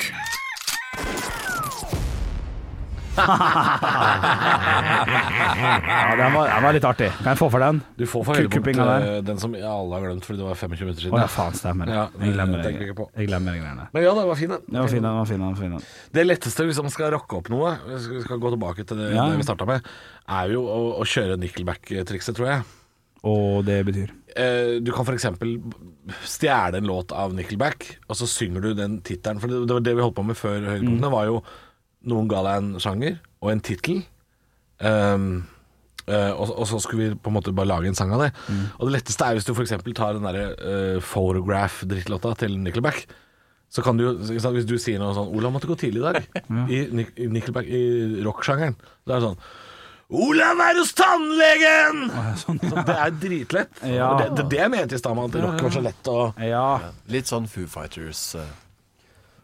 [SPEAKER 4] ja, den var, den var litt artig. Kan jeg få for den?
[SPEAKER 3] Du får for
[SPEAKER 4] Kukkupinga der.
[SPEAKER 3] eh, den som alle har glemt fordi det var 25 minutter
[SPEAKER 4] Å ja, faen, stemmer det.
[SPEAKER 3] Ja,
[SPEAKER 4] Jeg
[SPEAKER 3] det
[SPEAKER 4] glemmer det.
[SPEAKER 3] tenker jeg ikke på.
[SPEAKER 4] Jeg glemmer de greiene.
[SPEAKER 3] Men ja, det var fin, den.
[SPEAKER 4] Den var fin, den var fin. Den var fin. den.
[SPEAKER 3] Det letteste hvis man skal rocke opp noe, hvis vi skal gå tilbake til det,
[SPEAKER 4] Ja.
[SPEAKER 3] det vi starta med, er jo å, å kjøre Nickelback-trikset, tror jeg.
[SPEAKER 4] Og det betyr
[SPEAKER 3] Eh, Du kan f.eks. stjele en låt av Nickelback, og så synger du den tittelen. For det det var det vi holdt på med før høydepunktene, var jo Noen ga deg en sjanger og en tittel. ehm, eh, og, og så skulle vi på en måte bare lage en sang av det. Og det letteste er hvis du f.eks. tar den derre eh, Photograph-drittlåta til Nickelback. Så kan du jo, ikke sant, Hvis du sier noe sånn 'Olav måtte gå tidlig i dag' i, Nic- i Nickelback, i rocksjangeren, da er det sånn 'Olav er hos tannlegen!'
[SPEAKER 4] sånn,
[SPEAKER 3] Så det er dritlett.
[SPEAKER 4] Ja.
[SPEAKER 3] Og Det, det, det mente jeg i stad med at rock var så lett å
[SPEAKER 4] Ja.
[SPEAKER 5] Litt sånn Foo Fighters. eh.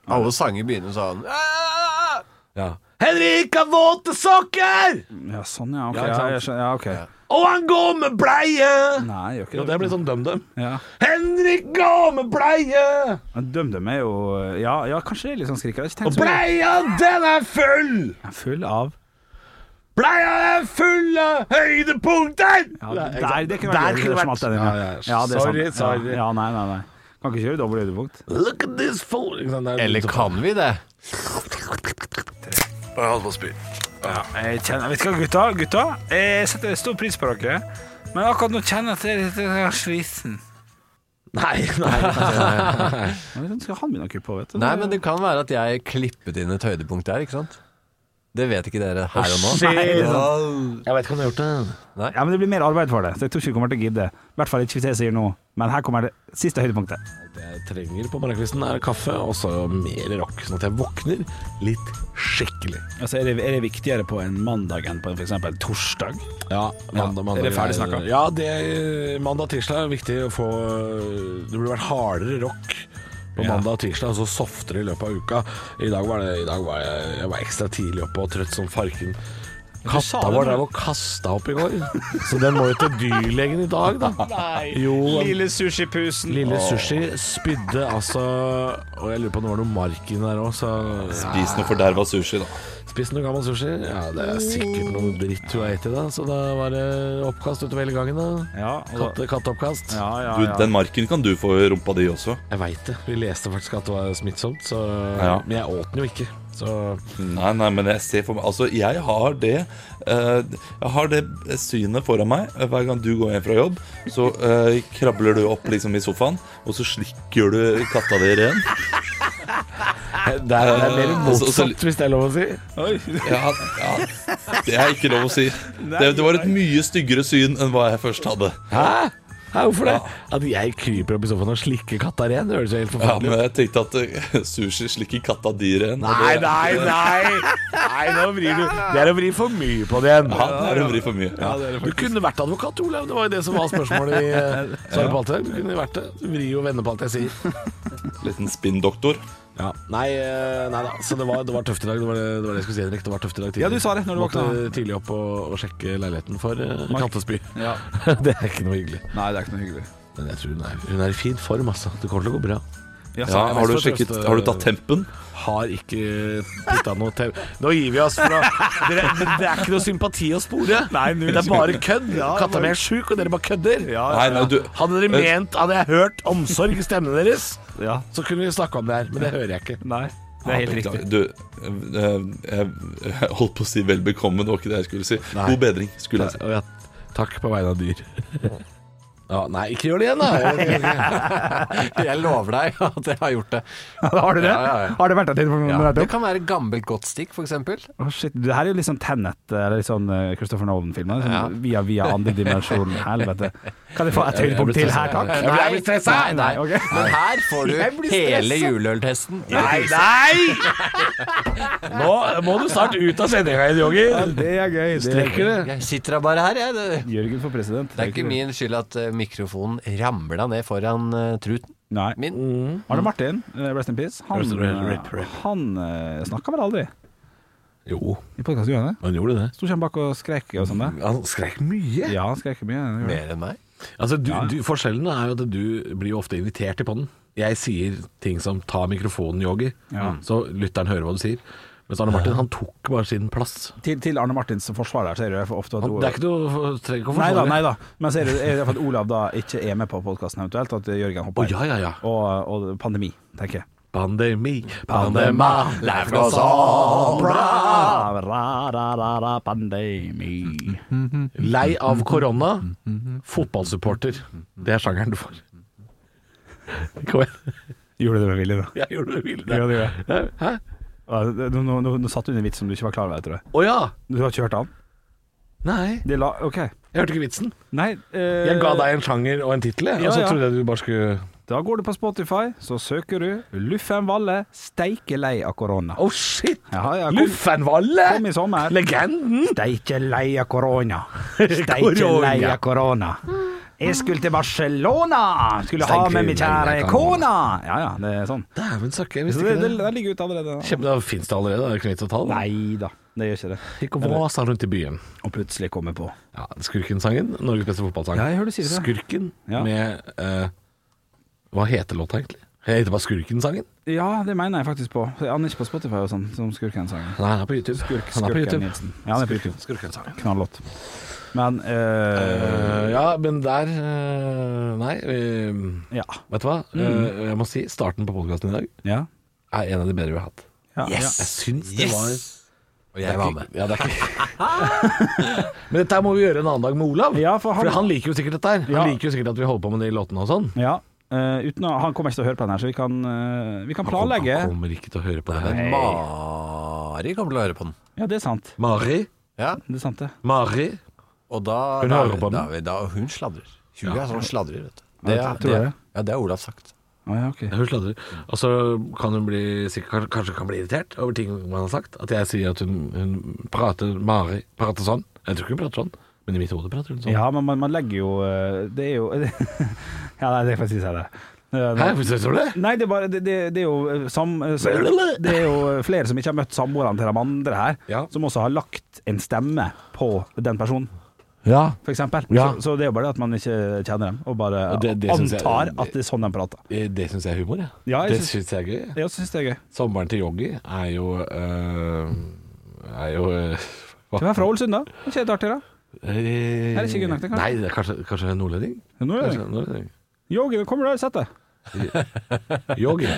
[SPEAKER 5] Alle sanger begynner sånn.
[SPEAKER 3] ja. Henrik har våte sokker!
[SPEAKER 4] Ja, sånn, ja. Ok.
[SPEAKER 3] Ja, ikke
[SPEAKER 4] Ja,
[SPEAKER 3] sant?
[SPEAKER 4] jeg skjønner. Ja, ok.
[SPEAKER 3] Og han går med bleie!
[SPEAKER 4] Nei, jeg gjør
[SPEAKER 3] Jo,
[SPEAKER 4] ikke
[SPEAKER 3] det
[SPEAKER 4] det.
[SPEAKER 3] blir sånn dum-dum.
[SPEAKER 4] Ja.
[SPEAKER 3] Henrik går med bleie!
[SPEAKER 4] Men DumDum er jo Ja, ja kanskje det er litt sånn skrik. Jeg har ikke tenkt så mye.
[SPEAKER 3] Bleia, den er full!
[SPEAKER 4] Jeg er Full av
[SPEAKER 3] Bleia er full av høydepunkter!
[SPEAKER 4] ja, Der, det kunne vært
[SPEAKER 3] kunne
[SPEAKER 4] gøy.
[SPEAKER 3] vært- Ja,
[SPEAKER 4] Ja,
[SPEAKER 3] ja.
[SPEAKER 4] det er
[SPEAKER 3] sorry,
[SPEAKER 4] sant.
[SPEAKER 3] sorry.
[SPEAKER 4] Ja, ja, nei, nei, nei. Kan ikke kjøre dobbelt høydepunkt.
[SPEAKER 3] Look at this fool! Ikke sant, det er-
[SPEAKER 5] Eller kan vi det?
[SPEAKER 4] Jeg kjenner, vet du hva, gutta? gutta jeg setter stor pris på dere, men akkurat nå kjenner jeg at jeg er sliten.
[SPEAKER 3] Nei, nei.
[SPEAKER 4] Skal han begynne å kuppe, vet du?
[SPEAKER 5] Nei, men det kan være at jeg klippet inn et høydepunkt der, ikke sant? Det vet ikke dere her og nå.
[SPEAKER 3] shit.
[SPEAKER 5] Nei, det var-
[SPEAKER 3] Jeg vet ikke om du har gjort det.
[SPEAKER 4] Ja, men det blir mer arbeid for det, så jeg tror ikke vi kommer til å gidde. I hvert fall ikke hvis jeg sier noe. Men her kommer det siste høydepunktet.
[SPEAKER 3] Det jeg trenger på morgenkvisten, er kaffe og så mer rock, sånn at jeg våkner litt skikkelig.
[SPEAKER 4] Altså, er, det, er det viktigere på en mandag enn på en f.eks. torsdag?
[SPEAKER 3] Ja, mandag, mandag,
[SPEAKER 4] Er det ferdig snakka?
[SPEAKER 3] Ja, det er mandag-tirsdag er viktig å få Det burde vært hardere rock på mandag og tirsdag, og så softere i løpet av uka. I dag var, det, i dag var jeg, jeg var ekstra tidlig oppe og trøtt som farken. Katta vår drev og kasta opp i går, så den må jo til dyrlegen i dag, da. Jo,
[SPEAKER 4] sushipusen.
[SPEAKER 3] lille sushi spydde altså Og jeg lurer på om det var noe mark inni der òg, så
[SPEAKER 11] Spis noe forderva sushi, da.
[SPEAKER 3] Spist noe gammel sushi? Ja, det er sikkert noe dritt hun har spist i dag, så da var det oppkast utover hele gangen, da.
[SPEAKER 4] Ja, og da,
[SPEAKER 3] Katte, katteoppkast.
[SPEAKER 4] ja, ja,
[SPEAKER 11] Du,
[SPEAKER 4] ja.
[SPEAKER 11] Den marken kan du få i rumpa di også.
[SPEAKER 3] Jeg veit det. Vi leste faktisk at det var smittsomt, så
[SPEAKER 11] Ja.
[SPEAKER 3] Men jeg åt den jo ikke. Så
[SPEAKER 11] Nei, nei, men jeg ser for meg Altså, jeg har det eh, Jeg har det synet foran meg eh, Hver gang du går hjem fra jobb Så eh, krabler du opp liksom i sofaen Og så slikker du katta di ren
[SPEAKER 3] det er, det er mer
[SPEAKER 11] Og så-
[SPEAKER 3] motsatt, hvis det er lov å si.
[SPEAKER 11] ja, ja, Det er ikke lov å si det, det var et mye styggere syn enn hva jeg først hadde
[SPEAKER 3] Hæ? Hæ hvorfor det? At jeg kryper opp i sofaen og slikker katta ren, det høres jo helt
[SPEAKER 11] Ja,
[SPEAKER 3] forferdelig
[SPEAKER 11] men
[SPEAKER 3] ut.
[SPEAKER 11] jeg tenkte at eh, sushi slikker katta di ren og
[SPEAKER 3] Nei,
[SPEAKER 11] det-
[SPEAKER 3] nei, nei! Nei, nå vrir du Det er å vri for mye på det igjen.
[SPEAKER 11] Ja, det er å vri for mye ja.
[SPEAKER 3] Du kunne vært advokat, Olav. Det var jo det som var spørsmålet i eh, svaret på alt her. Du kunne vært det. Du vrir jo og vender på alt jeg sier.
[SPEAKER 11] Liten spinndoktor
[SPEAKER 3] Ja. Nei, eh, nei da. Så det var, det var tøft i dag. Det var det, det var det jeg skulle si, Henrik. Det var tøft i dag tidlig.
[SPEAKER 4] Ja, du sa det når du
[SPEAKER 3] Måtte
[SPEAKER 4] våkna.
[SPEAKER 3] tidlig opp og, og sjekke leiligheten for uh,
[SPEAKER 4] Mark.
[SPEAKER 3] kattespy.
[SPEAKER 4] Ja.
[SPEAKER 3] det er ikke noe hyggelig.
[SPEAKER 4] Nei, det er ikke noe hyggelig.
[SPEAKER 3] Men jeg tror hun er, hun er i fin form, altså. Det kommer til å gå bra.
[SPEAKER 11] ja, har, du sjekket, har du tatt tempen?
[SPEAKER 3] Har ikke putta noe til Nå gir vi oss fra dere, Det er ikke noe sympati å spore. det er bare kødd. Katta mi er sjuk, og dere bare kødder.
[SPEAKER 11] Nei, nei, du
[SPEAKER 3] Hadde dere ment Hadde jeg hørt omsorg i stemmen deres,
[SPEAKER 4] Ja.
[SPEAKER 3] så kunne vi snakka om det her. Men det hører jeg ikke.
[SPEAKER 4] Nei, det er helt riktig.
[SPEAKER 11] Du, eh, jeg jeg holdt på å si vel bekomme, det var ikke det jeg skulle si. God bedring, skulle jeg si.
[SPEAKER 3] Nei, og jeg, takk på vegne av dyr. Ja, nei, ikke gjør det igjen, da!
[SPEAKER 5] Jeg lover deg at jeg har gjort det.
[SPEAKER 4] Har du det?
[SPEAKER 5] Ja, ja, ja.
[SPEAKER 4] Har det vært et tidspunkt?
[SPEAKER 5] Ja,
[SPEAKER 4] når det
[SPEAKER 5] det
[SPEAKER 4] er topp?
[SPEAKER 5] kan være gammelt godt stikk, for eksempel.
[SPEAKER 4] Å, shit, det her er jo litt sånn Tenet eller litt sånn eh, Christopher Nolan-filmer. Sånn, Via via andre dimensjon. Helvete. Kan jeg få et høydepunkt til her, takk?
[SPEAKER 5] Jeg blir- jeg blir stressa.
[SPEAKER 4] Nei, nei, ok.
[SPEAKER 5] Men her får
[SPEAKER 4] Jeg blir
[SPEAKER 5] du hele juleøltesten.
[SPEAKER 3] Nei, nei! Nå må du snart ut av sendinga igjen, Jogger.
[SPEAKER 4] Det er gøy. Det er
[SPEAKER 3] Strekker det?
[SPEAKER 5] Jeg sitter da bare her, jeg. Det,
[SPEAKER 4] Jørgen for president.
[SPEAKER 5] det er ikke min skyld at eh, mikrofonen ramla ned foran eh, truten
[SPEAKER 4] Nei.
[SPEAKER 5] min.
[SPEAKER 4] Arne Martin, eh, rest in peace, han,
[SPEAKER 3] Rest in peace, rip,
[SPEAKER 4] eh,
[SPEAKER 3] rip.
[SPEAKER 4] han eh, snakka vel aldri
[SPEAKER 3] Jo,
[SPEAKER 4] i podkasten? Gjorde han det?
[SPEAKER 3] han gjorde det.
[SPEAKER 4] Sto ikke han bak og skreik og sånn? det?
[SPEAKER 3] Han skrek mye.
[SPEAKER 4] Ja, han skreik mye. han gjorde det.
[SPEAKER 5] Mer enn meg.
[SPEAKER 3] Altså, du, du, forskjellen er jo at du blir jo ofte invitert i podden. Jeg sier ting som 'ta mikrofonen, Jogger',
[SPEAKER 4] Ja.
[SPEAKER 3] så lytteren hører hva du sier. Mens Arne Martin han tok bare sin plass.
[SPEAKER 4] Til, til Arne Martins forsvar der, så er det jo for ofte at
[SPEAKER 3] Han, det er ikke noe trenger ikke å
[SPEAKER 4] Nei da,
[SPEAKER 3] forsvare.
[SPEAKER 4] nei da. Men så er det, er det for at Olav da ikke er med på podkasten eventuelt, at Jørgen
[SPEAKER 3] Å,
[SPEAKER 4] hopper
[SPEAKER 3] ja, ja, ja.
[SPEAKER 4] Og, og pandemi, tenker jeg.
[SPEAKER 3] Pandemi, pandema, life goes on.
[SPEAKER 4] Ra, Ah, ra, ra, ra, ra, pandemi.
[SPEAKER 3] Lei
[SPEAKER 4] Mm-hmm.
[SPEAKER 3] av korona, fotballsupporter. Det er sjangeren du får. Kom igjen.
[SPEAKER 4] Gjorde du det med vilje, da?
[SPEAKER 3] Jeg gjorde det
[SPEAKER 4] Mm-hmm. Ja,
[SPEAKER 3] ville.
[SPEAKER 4] det gjorde jeg.
[SPEAKER 3] Hæ?
[SPEAKER 4] Ja, Nå, nå, nå, nå satt du inn en vits som du ikke var klar over, tror jeg.
[SPEAKER 3] Å ja.
[SPEAKER 4] Du har ikke hørt den?
[SPEAKER 3] Nei,
[SPEAKER 4] Det la, ok.
[SPEAKER 3] jeg hørte ikke vitsen.
[SPEAKER 4] Nei eh,
[SPEAKER 3] Jeg ga deg en sjanger og en tittel, jeg,
[SPEAKER 4] Ja,
[SPEAKER 3] og så
[SPEAKER 4] ja.
[SPEAKER 3] trodde jeg du bare skulle
[SPEAKER 4] Da går du på Spotify, så søker du 'Luffen Valle steike lei av korona'.
[SPEAKER 3] Oh shit!
[SPEAKER 4] Ja, ja, kom,
[SPEAKER 3] Luffen Valle!
[SPEAKER 4] kom i sommer.
[SPEAKER 3] Legenden!
[SPEAKER 4] Steike lei av korona. Steike lei av korona. Jeg skulle til Barcelona! Skulle ha
[SPEAKER 3] Stein
[SPEAKER 4] med min
[SPEAKER 3] Klynge, jeg
[SPEAKER 4] kjære
[SPEAKER 3] kan-
[SPEAKER 4] kone! Ja ja, det er sånn.
[SPEAKER 3] Dæven søkker,
[SPEAKER 4] Så det, det, det ligger ute allerede.
[SPEAKER 3] Kjempe, da Fins det allerede? Det er ikke noe vits å ta det.
[SPEAKER 4] Nei da, det gjør ikke det.
[SPEAKER 3] Ikke vasa rundt i byen.
[SPEAKER 4] Og plutselig kommer på.
[SPEAKER 3] Ja, Skurkensangen. Norges beste fotballsang.
[SPEAKER 4] Ja, jeg hører du sier det.
[SPEAKER 3] Skurken med eh, Hva heter låta egentlig? Jeg heter bare Skurkensangen.
[SPEAKER 4] Ja, det mener jeg faktisk på. Han er ikke på Spotify og sånn, som Skurken-sangen.
[SPEAKER 3] Nei, han er på YouTube.
[SPEAKER 4] Skurk,
[SPEAKER 3] Han er på
[SPEAKER 4] Skurken
[SPEAKER 3] YouTube.
[SPEAKER 4] Nilsen. Ja, han er på
[SPEAKER 3] Skurken-
[SPEAKER 4] YouTube.
[SPEAKER 3] Skurkensangen.
[SPEAKER 4] Knallåt. Men eh,
[SPEAKER 3] Eh, ja, men der eh, Nei. eh,
[SPEAKER 4] Ja.
[SPEAKER 3] Vet du hva? Eh,
[SPEAKER 4] Mm.
[SPEAKER 3] jeg må si starten på podkasten i dag
[SPEAKER 4] Ja.
[SPEAKER 3] er en av de bedre vi har hatt.
[SPEAKER 4] Ja.
[SPEAKER 5] Yes!
[SPEAKER 3] Jeg syns det var
[SPEAKER 5] Og
[SPEAKER 3] Det
[SPEAKER 5] jeg
[SPEAKER 3] er
[SPEAKER 5] var
[SPEAKER 3] ikke-
[SPEAKER 5] med.
[SPEAKER 3] Ja, det er ikke. Men dette her må vi gjøre en annen dag med Olav.
[SPEAKER 4] Ja, for han-
[SPEAKER 3] For han liker jo sikkert dette her. Han
[SPEAKER 4] Ja.
[SPEAKER 3] liker jo sikkert at vi holder på med de låtene og sånn.
[SPEAKER 4] ja. Eh, uten å, han kommer ikke til å høre på den her, så vi kan, eh, vi kan
[SPEAKER 3] Han kom-
[SPEAKER 4] planlegge.
[SPEAKER 3] Han kommer ikke til å høre på det her.
[SPEAKER 5] Men Mari kommer til å høre på den.
[SPEAKER 4] Ja, det er sant.
[SPEAKER 3] Mari,
[SPEAKER 5] Ja,
[SPEAKER 4] Det er sant, det.
[SPEAKER 3] Mari
[SPEAKER 5] Og da
[SPEAKER 3] Hun
[SPEAKER 5] da,
[SPEAKER 3] hører på den.
[SPEAKER 5] Da, da, hun sladrer. Hun er sånn sladrer, vet du.
[SPEAKER 4] Ja,
[SPEAKER 5] er-
[SPEAKER 4] tror jeg.
[SPEAKER 5] det, ja, det har Olav sagt.
[SPEAKER 4] Å, ja, ok.
[SPEAKER 3] Hun sladrer. Og så kan hun bli, sikkert, kanskje kan bli irritert over ting man har sagt. At jeg sier at hun, hun prater Mari prater sånn. Jeg tror ikke hun prater sånn, men i mitt hode prater hun sånn.
[SPEAKER 4] Ja, men man, man legger jo eh, Det er jo Ja, nei, det får jeg si seg det. Eh,
[SPEAKER 3] Hæ, hvorfor sier du det?
[SPEAKER 4] Nei, det er, bare, det, det, det er jo eh, sam, eh, så, Det er jo eh, flere som ikke har møtt samboerne til de andre her,
[SPEAKER 3] Ja.
[SPEAKER 4] som også har lagt en stemme på den personen,
[SPEAKER 3] Ja.
[SPEAKER 4] for eksempel.
[SPEAKER 3] Ja.
[SPEAKER 4] Så, så det er jo bare det at man ikke kjenner dem, og bare
[SPEAKER 3] Og det- det synes jeg-
[SPEAKER 4] antar at det er sånn de prater.
[SPEAKER 3] Det, det syns jeg er humor, jeg.
[SPEAKER 4] Ja, jeg
[SPEAKER 3] det
[SPEAKER 4] syns-
[SPEAKER 3] syns jeg er gøy. jeg.
[SPEAKER 4] Jeg også synes det er gøy.
[SPEAKER 3] Sommeren til Yogi er jo øh, Er jo øh, hva?
[SPEAKER 4] Du er fra Ålesund, da? Er ikke det artig, da?
[SPEAKER 3] Eh,
[SPEAKER 4] Er det ikke Gunnaktig, kanskje?
[SPEAKER 3] Nei, det er kanskje, kanskje nordlending?
[SPEAKER 4] Nå er det
[SPEAKER 3] Kanskje nordlending.
[SPEAKER 4] Yogi, nå kommer du her og setter deg.
[SPEAKER 3] Yogi,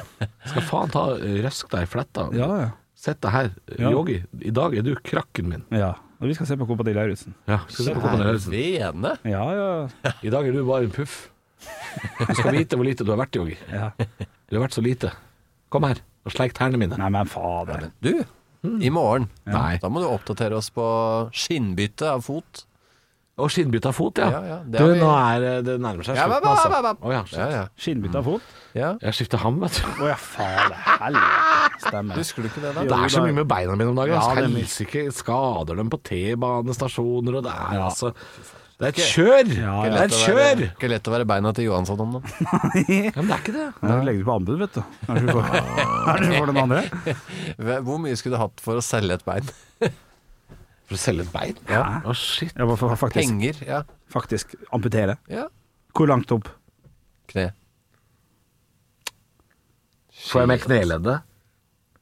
[SPEAKER 3] skal faen ta eh, røsk deg i fletta.
[SPEAKER 4] ja.
[SPEAKER 3] Sett deg her.
[SPEAKER 4] Ja.
[SPEAKER 3] Yogi, i dag er du krakken min.
[SPEAKER 4] Ja. Og vi skal se på Kompani Lauritzen.
[SPEAKER 3] Ja, skal du få på den øvelsen.
[SPEAKER 5] Vene.
[SPEAKER 4] Ja, ja.
[SPEAKER 3] I dag er du bare en puff. Du skal vite hvor lite du har vært, Yogi.
[SPEAKER 4] ja.
[SPEAKER 3] Du har vært så lite. Kom her og sleik tærne mine.
[SPEAKER 4] Nei, men fader.
[SPEAKER 5] Du, i morgen
[SPEAKER 3] Nei.
[SPEAKER 5] Da må du oppdatere oss på skinnbytte av fot.
[SPEAKER 3] Og skinnbytte av fot, ja.
[SPEAKER 5] Ja, ja, det
[SPEAKER 3] Du,
[SPEAKER 5] har vi-
[SPEAKER 3] nå er eh, det nærmer seg
[SPEAKER 5] Ja,
[SPEAKER 3] slutten,
[SPEAKER 5] ba, ba, ba,
[SPEAKER 3] altså.
[SPEAKER 5] ba.
[SPEAKER 3] Å ja,
[SPEAKER 5] Ja,
[SPEAKER 3] shit.
[SPEAKER 5] ja.
[SPEAKER 4] Skinnbytte av fot.
[SPEAKER 5] ja.
[SPEAKER 3] Jeg skifter ham, vet du.
[SPEAKER 4] Å ja, fader. Helvete. Stemmer.
[SPEAKER 5] Husker du ikke det, da?
[SPEAKER 3] Det er så mye med beina mine om dagen.
[SPEAKER 4] Ja,
[SPEAKER 3] altså.
[SPEAKER 4] det er mye.
[SPEAKER 3] Helsike, skader dem på T-banestasjoner, og det er
[SPEAKER 4] Ja.
[SPEAKER 3] altså Det er et kjør!
[SPEAKER 4] Ja,
[SPEAKER 3] Det er et kjør!
[SPEAKER 5] Ikke lett å være beina til Johansson om det.
[SPEAKER 3] Ja, men det er ikke det.
[SPEAKER 4] Da legger du på anbud, vet du. Kanskje du får, kanskje du får den andre?
[SPEAKER 5] Hvor mye skulle du hatt for å selge et bein?
[SPEAKER 3] For å selge et bein?
[SPEAKER 4] Ja.
[SPEAKER 3] Å, shit.
[SPEAKER 4] Jeg må fa- faktisk,
[SPEAKER 5] Penger, ja.
[SPEAKER 4] faktisk amputere.
[SPEAKER 5] ja.
[SPEAKER 4] Hvor langt opp?
[SPEAKER 5] Kne.
[SPEAKER 3] Får jeg med kneleddet?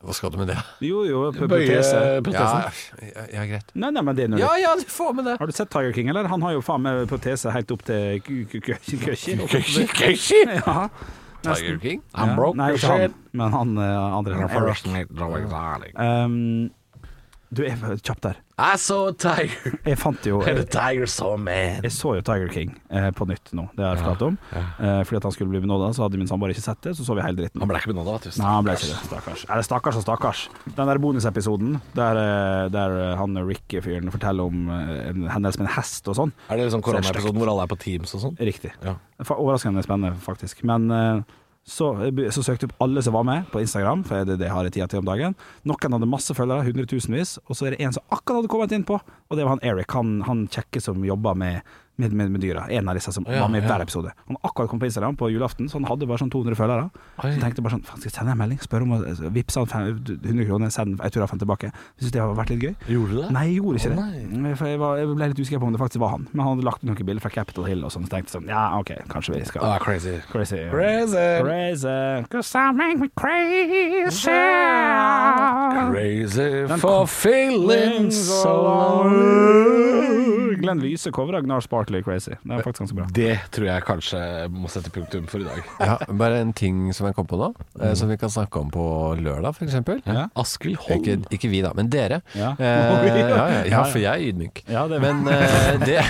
[SPEAKER 5] Hva skal du med det?
[SPEAKER 4] Jo, jo, p-
[SPEAKER 3] Bøye
[SPEAKER 4] protese.
[SPEAKER 3] protesen?
[SPEAKER 5] Ja, ja, ja, greit.
[SPEAKER 4] Nei, nei, men det er noe
[SPEAKER 5] Ja ja, du får med det.
[SPEAKER 4] Har du sett Tiger King, eller? Han har jo faen meg protese helt opp til ku- ku- ku- køkken.
[SPEAKER 3] Kishi!
[SPEAKER 4] Ja.
[SPEAKER 5] Tiger King.
[SPEAKER 3] I'm broke
[SPEAKER 4] Nei,
[SPEAKER 3] as
[SPEAKER 4] ikke han,
[SPEAKER 3] shit.
[SPEAKER 4] men han eh, andre.
[SPEAKER 3] I'm
[SPEAKER 4] Han,
[SPEAKER 3] first
[SPEAKER 4] Eric.
[SPEAKER 3] mate, no exotic.
[SPEAKER 4] Um, du, jeg var kjapp der.
[SPEAKER 3] I saw a tiger,
[SPEAKER 4] Jeg fant jo
[SPEAKER 3] and the tiger saw a man.
[SPEAKER 4] Jeg så jo Tiger King eh, på nytt nå, det har jeg fortalt om. Eh, fordi at han skulle bli benåda, så hadde min samboer ikke sett det, så så vi hele dritten.
[SPEAKER 3] Han ble ikke benåda, vet du.
[SPEAKER 4] Nei, han ble ikke det. Stakkars. Eller stakkars og stakkars. Den der bonusepisoden der, eh, der eh, han Ricky-fyren forteller om eh, en hendelse med en hest og sånn.
[SPEAKER 3] Er det sånn
[SPEAKER 4] Så det er
[SPEAKER 3] koronaepisoden hvor alle er på Teams og sånn?
[SPEAKER 4] Riktig.
[SPEAKER 3] Ja.
[SPEAKER 4] Fa- Overraskende spennende, faktisk. Men eh, så, jeg be- så søkte jeg opp alle som var med på Instagram, for det, det har jeg tida til om dagen. Noen hadde masse følgere, hundretusenvis, og så er det en som akkurat hadde kommet inn på, og det var han Eric, han, han kjekke som jobba med, med, med, med dyra. En av disse som
[SPEAKER 3] Ja,
[SPEAKER 4] var med i
[SPEAKER 3] ja.
[SPEAKER 4] hver episode. Han hadde akkurat kom på Instagram på julaften, så han hadde bare sånn 200 følgere. Så
[SPEAKER 3] Oi.
[SPEAKER 4] tenkte jeg bare sånn, faen skal jeg sende en melding? Spør om å vippse han fem- 100 kroner, send autografen tilbake. Syns det har vært litt gøy.
[SPEAKER 3] Gjorde du det?
[SPEAKER 4] Nei, jeg gjorde ikke
[SPEAKER 3] Å,
[SPEAKER 4] det. Mm, For jeg, var, jeg ble litt usikker på om det faktisk var han. Men han hadde lagt ut noen bilder fra Capitol Hill og sånn, så tenkte jeg sånn Ja, OK, kanskje vi skal
[SPEAKER 3] Ah, crazy.
[SPEAKER 4] Crazy.
[SPEAKER 3] Crazy.
[SPEAKER 4] Crazy. 'Cause I make me crazy.
[SPEAKER 3] Crazy for feeling so lonely.
[SPEAKER 4] Glenn Lyse covra Gnar Sparkley Crazy. Det er faktisk ganske bra.
[SPEAKER 3] Det tror jeg kanskje må sette punktum for i dag.
[SPEAKER 5] Ja, bare en ting som jeg kom på nå, eh, som vi kan snakke om på lørdag f.eks.
[SPEAKER 4] Mm. Ja.
[SPEAKER 3] Askild
[SPEAKER 5] Ikke,
[SPEAKER 3] Holm.
[SPEAKER 5] ikke vi, da, men dere.
[SPEAKER 4] Ja.
[SPEAKER 5] Eh, ja, ja, ja, for jeg er ydmyk.
[SPEAKER 4] Ja, det er
[SPEAKER 5] Men eh, det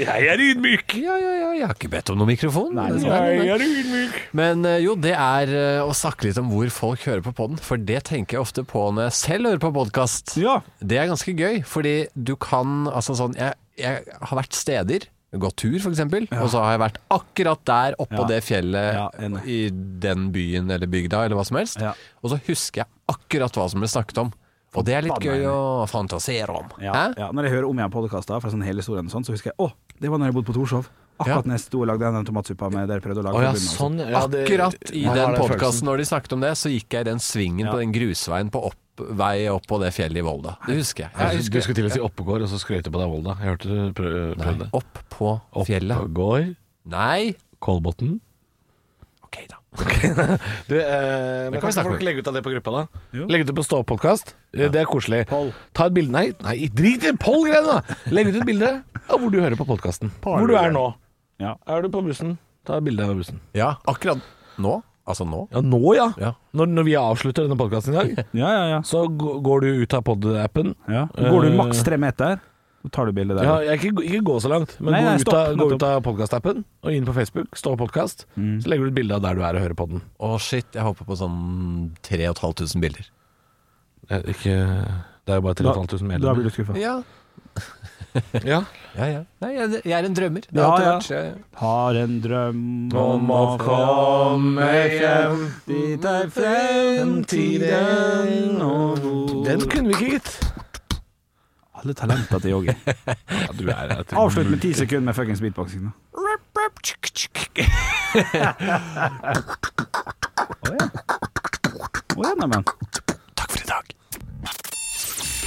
[SPEAKER 3] Jeg er ydmyk!
[SPEAKER 5] Ja, ja, ja, jeg har ikke bedt om noen mikrofon.
[SPEAKER 4] Nei,
[SPEAKER 5] Det er
[SPEAKER 4] nei.
[SPEAKER 5] sånn.
[SPEAKER 3] Jeg er ydmyk!
[SPEAKER 5] Men eh, jo, det er eh, å snakke litt om hvor folk hører på podden, for det tenker jeg ofte på når jeg selv hører på podkast.
[SPEAKER 4] Ja.
[SPEAKER 5] Det er ganske gøy, fordi du kan altså sånn Jeg, jeg har vært steder, gått tur f.eks., eksempel og så har jeg vært akkurat der oppå
[SPEAKER 4] Ja.
[SPEAKER 5] det fjellet
[SPEAKER 4] Ja, enig.
[SPEAKER 5] i den byen eller bygda eller hva som helst,
[SPEAKER 4] Ja.
[SPEAKER 5] og så husker jeg akkurat hva som ble snakket om. Og det er litt gøy å fantasere om.
[SPEAKER 4] Ja,
[SPEAKER 5] Hæ?
[SPEAKER 4] ja. Når jeg hører om igjen podkaster fra sånn hele historien og sånn, så husker jeg å, det var når jeg bodde på Torshov. akkurat når jeg sto og lagde den tomatsuppa med dere prøvde å lage.
[SPEAKER 3] Å ja,
[SPEAKER 4] på bunnen, altså.
[SPEAKER 3] sånn, ja, det-
[SPEAKER 5] Akkurat i
[SPEAKER 3] Man har
[SPEAKER 5] den
[SPEAKER 3] den
[SPEAKER 5] podkasten
[SPEAKER 3] følelsen.
[SPEAKER 5] når de snakket om det, så gikk jeg i den svingen på den grusveien på opp, vei opp på det fjellet i Volda. Det husker jeg. jeg
[SPEAKER 3] Du skulle til å si
[SPEAKER 5] Ja.
[SPEAKER 3] Oppegård, og så skrøyte på deg Volda. Jeg hørte du prøv, prøvde.
[SPEAKER 5] opp på fjellet.
[SPEAKER 3] Oppegård.
[SPEAKER 5] Nei.
[SPEAKER 3] Kolbotn. Ok, da. du, eh, men
[SPEAKER 5] kan vi
[SPEAKER 3] kan
[SPEAKER 5] snakke
[SPEAKER 3] folk
[SPEAKER 5] om.
[SPEAKER 3] legge ut av det på gruppa, da? Legge ut det på Stå-podkast. Det er koselig. Ta et bilde Nei, nei drit i Poll-greiene! da. Legg ut et bilde av hvor du hører på podkasten. Hvor du er nå. Er du på bussen? Ta et bilde av bussen.
[SPEAKER 5] Ja, akkurat nå. Altså nå.
[SPEAKER 3] Ja, nå, ja.
[SPEAKER 5] Ja.
[SPEAKER 3] Når, når vi avslutter denne podkasten i dag, så g- går du ut av pod-appen.
[SPEAKER 4] Ja. Går du maks tre meter, så tar du bildet der.
[SPEAKER 3] Eh. Ja, jeg, ikke, ikke gå så langt, men
[SPEAKER 4] Nei,
[SPEAKER 3] gå,
[SPEAKER 4] nei,
[SPEAKER 3] ut
[SPEAKER 4] stopp,
[SPEAKER 3] av, gå
[SPEAKER 4] nettopp.
[SPEAKER 3] ut av podkastappen og inn på Facebook, stå podkast, så legger du et bilde av der du er og hører på den.
[SPEAKER 5] Å shit, jeg håper på sånn 3500 bilder.
[SPEAKER 3] Eh, Ikke Det er jo bare 3500 medlemmer.
[SPEAKER 4] Da blir du skuffa.
[SPEAKER 5] Ja.
[SPEAKER 3] Ja.
[SPEAKER 5] ja, ja. Nei, jeg, jeg er en drømmer. Det
[SPEAKER 4] Ja,
[SPEAKER 5] har alltid
[SPEAKER 4] ja.
[SPEAKER 5] vært. Jeg-
[SPEAKER 4] Har en drøm
[SPEAKER 3] Om å komme hjem
[SPEAKER 4] dit er
[SPEAKER 3] fremtiden
[SPEAKER 4] og
[SPEAKER 3] Den kunne vi ikke, gitt.
[SPEAKER 4] Alle talenter til Yogi.
[SPEAKER 3] Ja, du er et
[SPEAKER 4] Avslutt med ti sekunder med fuckings beatboxing. Da. Å ja, neimen.